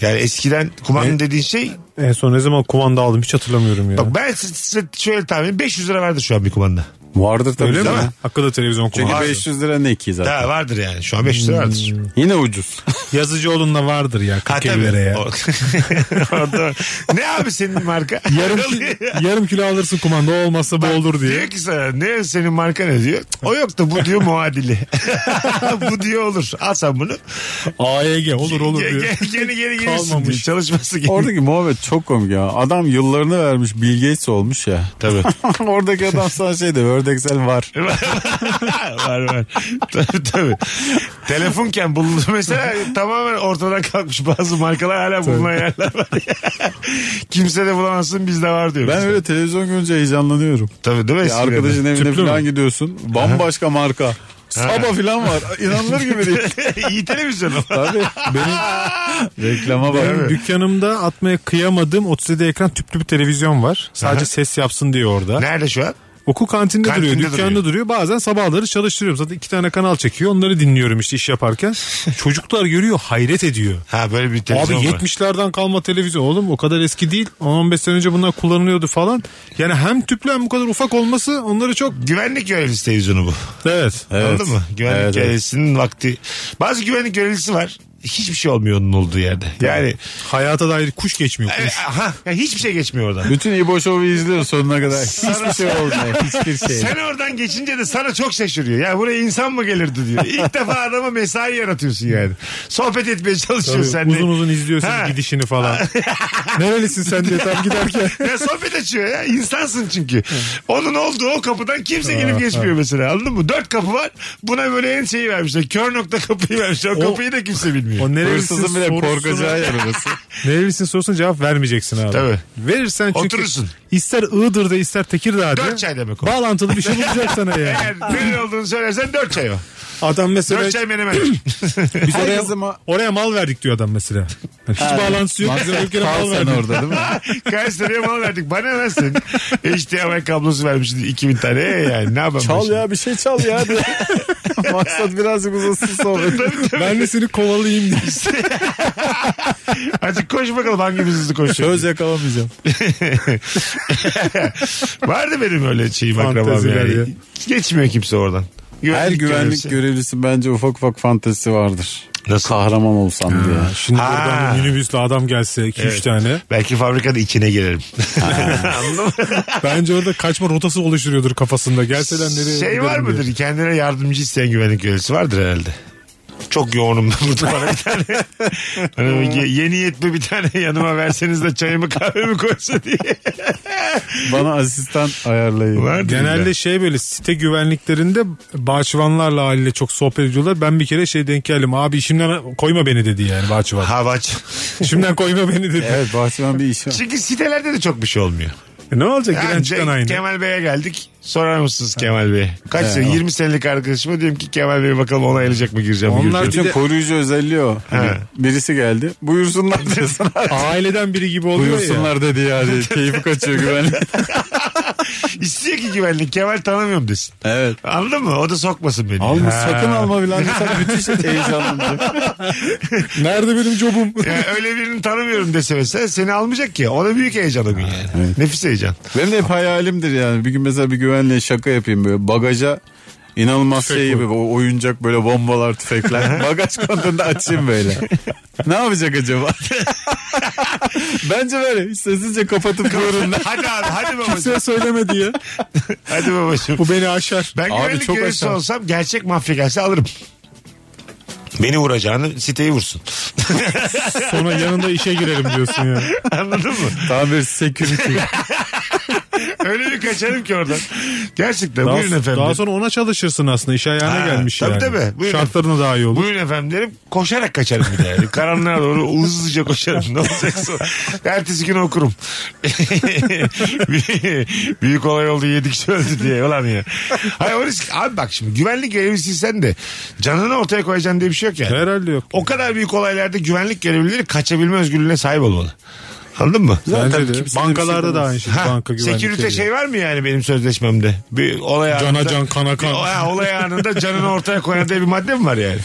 Speaker 2: Yani eskiden kumanda dediğin şey
Speaker 3: En son ne zaman kumanda aldım hiç hatırlamıyorum ya.
Speaker 2: bak ben size şöyle tahmin edeyim, 500 lira vardır şu an bir kumanda.
Speaker 4: Vardır tabii
Speaker 3: Öyle mi?
Speaker 4: canım.
Speaker 3: Hakkında televizyon
Speaker 4: Çünkü
Speaker 3: kumanda.
Speaker 4: 500 lira ne ki zaten.
Speaker 2: Ha vardır yani şu an 500 lira vardır.
Speaker 3: Hmm,
Speaker 4: Yine ucuz.
Speaker 3: Yazıcı olunla vardır ya
Speaker 2: Ha
Speaker 3: 40
Speaker 2: tabii.
Speaker 3: liraya. ya.
Speaker 2: O- Orada- ne abi senin marka?
Speaker 3: Yarım, ki- yarım kilo alırsın kumanda o olmazsa bu olur diye.
Speaker 2: Diyor ki sana ne senin marka ne diyor? O yok da bu diyor muadili. bu diyor olur. Al sen bunu.
Speaker 3: AEG olur olur
Speaker 2: Ge-
Speaker 4: E
Speaker 3: diyor.
Speaker 2: ge- Geri geri gelirsin
Speaker 3: Kalmamış.
Speaker 2: diyor. Çalışması gerekiyor.
Speaker 4: Oradaki muhabbet çok komik ya. Adam yıllarını vermiş Bill Gates olmuş ya.
Speaker 2: Tabii.
Speaker 4: Oradaki adam sana şey diyor ördeksel var.
Speaker 2: var var. Tabii tabii. Telefonken bulundu mesela tamamen ortadan kalkmış bazı markalar hala bulunan yerler var. Kimse de bulamazsın bizde var diyor.
Speaker 4: Ben
Speaker 2: bizde.
Speaker 4: öyle televizyon görünce heyecanlanıyorum.
Speaker 2: Tabii değil mi?
Speaker 4: Ya
Speaker 2: Eskiden
Speaker 4: arkadaşın evine
Speaker 3: Tüplü
Speaker 4: falan
Speaker 3: mü?
Speaker 4: gidiyorsun. Bambaşka marka. Saba falan var. İnanılır gibi değil.
Speaker 2: de. İyi televizyon ama.
Speaker 4: Tabii benim reklama bak.
Speaker 3: Benim dükkanımda atmaya kıyamadığım 37 ekran tüplü bir televizyon var. Sadece
Speaker 2: Aha.
Speaker 3: ses yapsın diye orada.
Speaker 2: Nerede şu an?
Speaker 3: Okul kantinde,
Speaker 2: Kantinde
Speaker 3: duruyor, dükkanda
Speaker 2: duruyor.
Speaker 3: duruyor. Bazen sabahları çalıştırıyorum. Zaten iki tane kanal çekiyor. Onları dinliyorum işte iş yaparken. Çocuklar görüyor, hayret ediyor.
Speaker 2: Ha böyle bir
Speaker 3: Abi
Speaker 2: televizyon var.
Speaker 3: 70'lerden kalma televizyon oğlum o kadar eski değil. 10-15 sene önce bunlar kullanılıyordu falan. Yani hem tüplü hem bu kadar ufak olması onları çok...
Speaker 2: Güvenlik görevlisi televizyonu bu.
Speaker 3: Evet.
Speaker 4: Evet.
Speaker 2: Anladın mı? Güvenlik
Speaker 4: Evet, evet.
Speaker 2: görevlisinin vakti. Bazı güvenlik görevlisi var. hiçbir şey olmuyor onun olduğu yerde. Yani
Speaker 3: Hayata dair kuş geçmiyor.
Speaker 2: e,
Speaker 3: Kuş.
Speaker 2: aha, ya hiçbir şey geçmiyor oradan.
Speaker 4: Bütün İbo Show'u izliyoruz sonuna kadar. Hiçbir şey olmuyor. Hiçbir şey.
Speaker 2: Sen oradan geçince de sana çok şaşırıyor. Ya buraya insan mı gelirdi diyor. İlk defa adama mesai yaratıyorsun yani. Sohbet etmeye çalışıyorsun sen
Speaker 3: Tabii,
Speaker 2: de.
Speaker 3: uzun uzun izliyorsun
Speaker 2: Ha.
Speaker 3: gidişini falan. Nerelisin sen diye tam giderken.
Speaker 2: Ya sohbet açıyor ya. İnsansın çünkü. Onun olduğu o kapıdan kimse gelip geçmiyor mesela. Anladın mı? Dört kapı var. Buna böyle en şeyi vermişler. Kör nokta kapıyı vermişler. O, kapıyı da kimse bilmiyor.
Speaker 3: O nerelisin
Speaker 4: Hırsızın bile
Speaker 3: sorusuna-
Speaker 4: korkacağı yer orası.
Speaker 3: Nerelisin sorusuna cevap vermeyeceksin abi.
Speaker 2: Tabii.
Speaker 3: Verirsen çünkü
Speaker 2: Oturursun.
Speaker 3: ister Iğdır'da ister Tekirdağ'da.
Speaker 2: Dört çay demek o.
Speaker 3: Bağlantılı bir şey bulacak sana yani.
Speaker 2: Eğer nerede olduğunu söylersen dört çay o.
Speaker 3: Adam mesela
Speaker 2: Dört şey çay menemen.
Speaker 4: Biz oraya,
Speaker 3: oraya mal verdik diyor adam mesela. Yani hiç bağlantısı yok. Bize bir kere mal
Speaker 4: Kal sen
Speaker 3: verdik.
Speaker 4: orada değil mi?
Speaker 2: Kayseri'ye mal verdik. Bana versin. HDMI kablosu vermişsin 2000 tane. Ee yani ne yapalım?
Speaker 4: Çal ya bir şey çal ya. diye. Maksat birazcık uzasın sohbet.
Speaker 3: Ben de seni kovalayayım diye.
Speaker 2: Hadi koş bakalım hangimiz hızlı koşuyor.
Speaker 4: Söz yakalamayacağım.
Speaker 2: Vardı benim öyle şeyim akrabam
Speaker 3: Fanteziler
Speaker 2: yani.
Speaker 3: ya.
Speaker 2: Geçmiyor kimse oradan. Güvenlik
Speaker 4: Her güvenlik şey.
Speaker 2: görevlisi.
Speaker 4: görevlisi bence ufak ufak fantezisi vardır.
Speaker 2: Nasıl?
Speaker 4: Kahraman olsam diye.
Speaker 3: Şimdi
Speaker 2: Ha.
Speaker 3: buradan bir minibüsle adam gelse 2-3
Speaker 2: Evet.
Speaker 3: tane.
Speaker 2: Belki fabrikada içine girerim. Anladın mı?
Speaker 3: Bence orada kaçma rotası oluşturuyordur kafasında. Gelseler nereye
Speaker 2: şey
Speaker 3: giderim
Speaker 2: var
Speaker 3: diye.
Speaker 2: mıdır? Kendine yardımcı isteyen güvenlik görevlisi vardır herhalde. Çok yoğunum ben burada bana bir tane. Hani böyle ye- yeni yetme bir tane yanıma verseniz de çayımı kahvemi koysa diye.
Speaker 4: Bana asistan ayarlayın.
Speaker 2: Vardır
Speaker 3: Genelde
Speaker 2: illa.
Speaker 3: şey böyle site güvenliklerinde bahçıvanlarla haliyle çok sohbet ediyorlar. Ben bir kere şey denk geldim. Abi işimden koyma beni dedi yani bahçıvan.
Speaker 2: Havaç.
Speaker 3: işimden koyma beni dedi.
Speaker 4: Evet bahçıvan bir işi var.
Speaker 2: Çünkü sitelerde de çok bir şey olmuyor.
Speaker 3: E Ne olacak giren
Speaker 2: Yani
Speaker 3: çıkan aynı.
Speaker 2: şey, Kemal Bey'e geldik. Sorar mısınız Kemal Bey'e? Kaç sene? 20 senelik arkadaşıma diyorum ki Kemal Bey bakalım onaylayacak mı gireceğim. mi
Speaker 3: Onlar
Speaker 2: gireceğim mi?
Speaker 4: Bütün koruyucu özelliği o. Hani
Speaker 2: He.
Speaker 4: birisi geldi. Buyursunlar diye sana.
Speaker 3: Aileden biri gibi oluyor ya.
Speaker 4: Buyursunlar dedi yani. Keyfi kaçıyor güvenlik.
Speaker 2: İstiyor ki güvenlik Kemal tanımıyorum desin.
Speaker 4: Evet.
Speaker 2: Anladın mı? O da sokmasın beni.
Speaker 4: Alma
Speaker 2: Ha.
Speaker 4: sakın alma bilen sen bütün şey heyecanlanacak.
Speaker 3: Nerede benim jobum?
Speaker 2: Ya öyle birini tanımıyorum dese mesela seni almayacak ki. O da büyük heyecan o gün yani. Nefis heyecan.
Speaker 4: Benim de hep hayalimdir yani. Bir gün mesela bir güvenliğe şaka yapayım böyle bagaja inanılmaz şey gibi o oyuncak böyle bombalar tüfekler bagaj kontunda açayım böyle. ne yapacak acaba? Bence böyle hiç sessizce kapatıp buyurun.
Speaker 2: hadi abi hadi babacığım.
Speaker 3: Kimseye söyleme diye.
Speaker 2: hadi babacığım.
Speaker 3: Bu beni aşar.
Speaker 2: Ben
Speaker 4: Abi
Speaker 2: güvenlik
Speaker 4: çok
Speaker 2: görevlisi
Speaker 4: aşağı.
Speaker 2: olsam gerçek mafya gelse alırım. Beni vuracağını siteyi vursun.
Speaker 3: Sonra yanında işe girerim diyorsun ya.
Speaker 2: Anladın mı?
Speaker 4: Tam bir security.
Speaker 2: Öyle bir kaçarım ki oradan. Gerçekten
Speaker 3: Daha,
Speaker 2: buyurun efendim.
Speaker 3: daha sonra ona çalışırsın aslında. İş ayağına
Speaker 2: Ha,
Speaker 3: gelmiş
Speaker 2: tabii
Speaker 3: yani.
Speaker 2: tabii. Buyurun.
Speaker 3: Şartlarına daha iyi olur.
Speaker 2: Buyurun efendim derim. Koşarak kaçarım bir de yani. Karanlığa doğru hızlıca koşarım. Ne olacaksa. Ertesi gün okurum. Büyük olay oldu yedik kişi öldü diye. Ulan ya. Hayır o risk. Abi bak şimdi güvenlik görevlisi sen de canını ortaya koyacaksın diye bir şey yok yani.
Speaker 3: Herhalde yok.
Speaker 2: O kadar büyük olaylarda güvenlik görevlileri kaçabilme özgürlüğüne sahip olmalı. Anladın mı?
Speaker 3: Bence de.
Speaker 4: kimsenin bir şey
Speaker 3: Bankalarda da
Speaker 4: demez.
Speaker 3: aynı şey.
Speaker 2: Ha,
Speaker 3: Banka güvenlik.
Speaker 2: Security
Speaker 3: geliyor.
Speaker 2: şey var mı yani benim sözleşmemde? Bir olay
Speaker 3: Cana
Speaker 2: anında-
Speaker 3: can, kana kan.
Speaker 2: Bir- Ha, olay anında canını ortaya koyan diye bir madde mi var yani?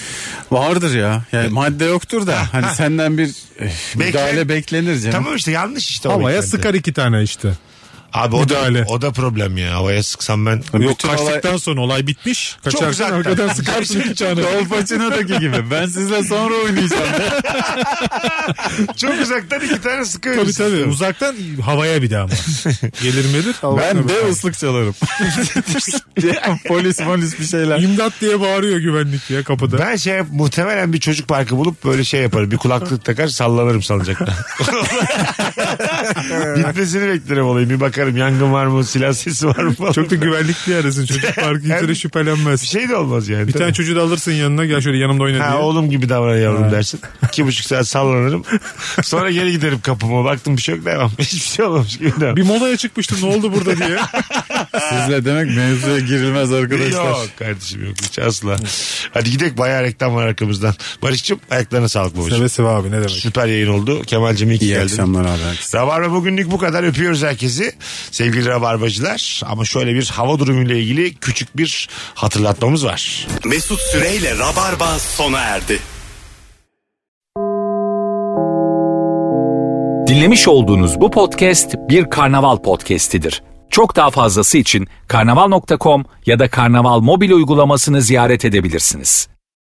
Speaker 4: Vardır ya. Yani madde yoktur da hani senden bir eh, müdahale beklenir canım.
Speaker 2: Tamam işte yanlış işte. o
Speaker 3: Havaya
Speaker 2: beklenti.
Speaker 3: sıkar iki tane işte.
Speaker 2: Abi o da,
Speaker 3: müdahale.
Speaker 2: o da problem ya. Havaya sıksam ben.
Speaker 4: Bütün
Speaker 3: Yok
Speaker 4: olay-
Speaker 3: kaçtıktan sonra olay bitmiş.
Speaker 2: güzel.
Speaker 3: Kaçarsan arkadan sıkarsın iki tane.
Speaker 4: Dolpaçino'daki gibi. Ben sizle sonra oynayacağım.
Speaker 2: Çok uzaktan iki tane sıkıyorum.
Speaker 3: Tabii tabii. Uzaktan havaya bir de ama. Gelir midir?
Speaker 4: ben de ıslık çalarım. polis polis bir şeyler.
Speaker 3: İmdat diye bağırıyor güvenlik ya kapıda.
Speaker 2: Ben şey yap- muhtemelen bir çocuk parkı bulup böyle şey yaparım. Bir kulaklık takar sallanırım salıncakta. Gitmesini beklerim olayım. Bir bakarım yangın var mı silah sesi var mı falan.
Speaker 3: Çok da güvenlikli arasın. Çocuk parkı
Speaker 2: Hem-
Speaker 3: hiç
Speaker 2: bir
Speaker 3: şüphelenmez.
Speaker 2: şey de olmaz yani.
Speaker 3: Bir tane çocuğu da alırsın yanına gel şöyle yanımda oyna
Speaker 2: Ha
Speaker 3: diye.
Speaker 2: oğlum gibi davran yavrum dersin. İki buçuk saat sallanırım. Sonra geri giderim kapıma. Baktım bir şey yok devam. Hiçbir şey olmamış gibi devam.
Speaker 3: Bir molaya çıkmıştım ne oldu burada diye.
Speaker 4: Sizle demek mevzuya girilmez arkadaşlar.
Speaker 2: Yok kardeşim yok hiç asla. Hadi gidelim bayağı reklam var arkamızdan. Barış'cığım ayaklarına sağlık babacığım.
Speaker 3: Seve seve abi ne demek.
Speaker 2: Süper yayın oldu. Kemal'cim iyi ki
Speaker 4: İyi
Speaker 2: geldin.
Speaker 4: akşamlar abi. herkese.
Speaker 2: Rabarba bugünlük bu kadar öpüyoruz herkesi. Sevgili Rabarbacılar ama şöyle bir hava durumuyla ilgili küçük bir hatırlatmamız var.
Speaker 1: Mesut Süreyle Rabarba sona erdi.
Speaker 7: Dinlemiş olduğunuz bu podcast bir karnaval podcastidir. Çok daha fazlası için karnaval.com ya da karnaval mobil uygulamasını ziyaret edebilirsiniz.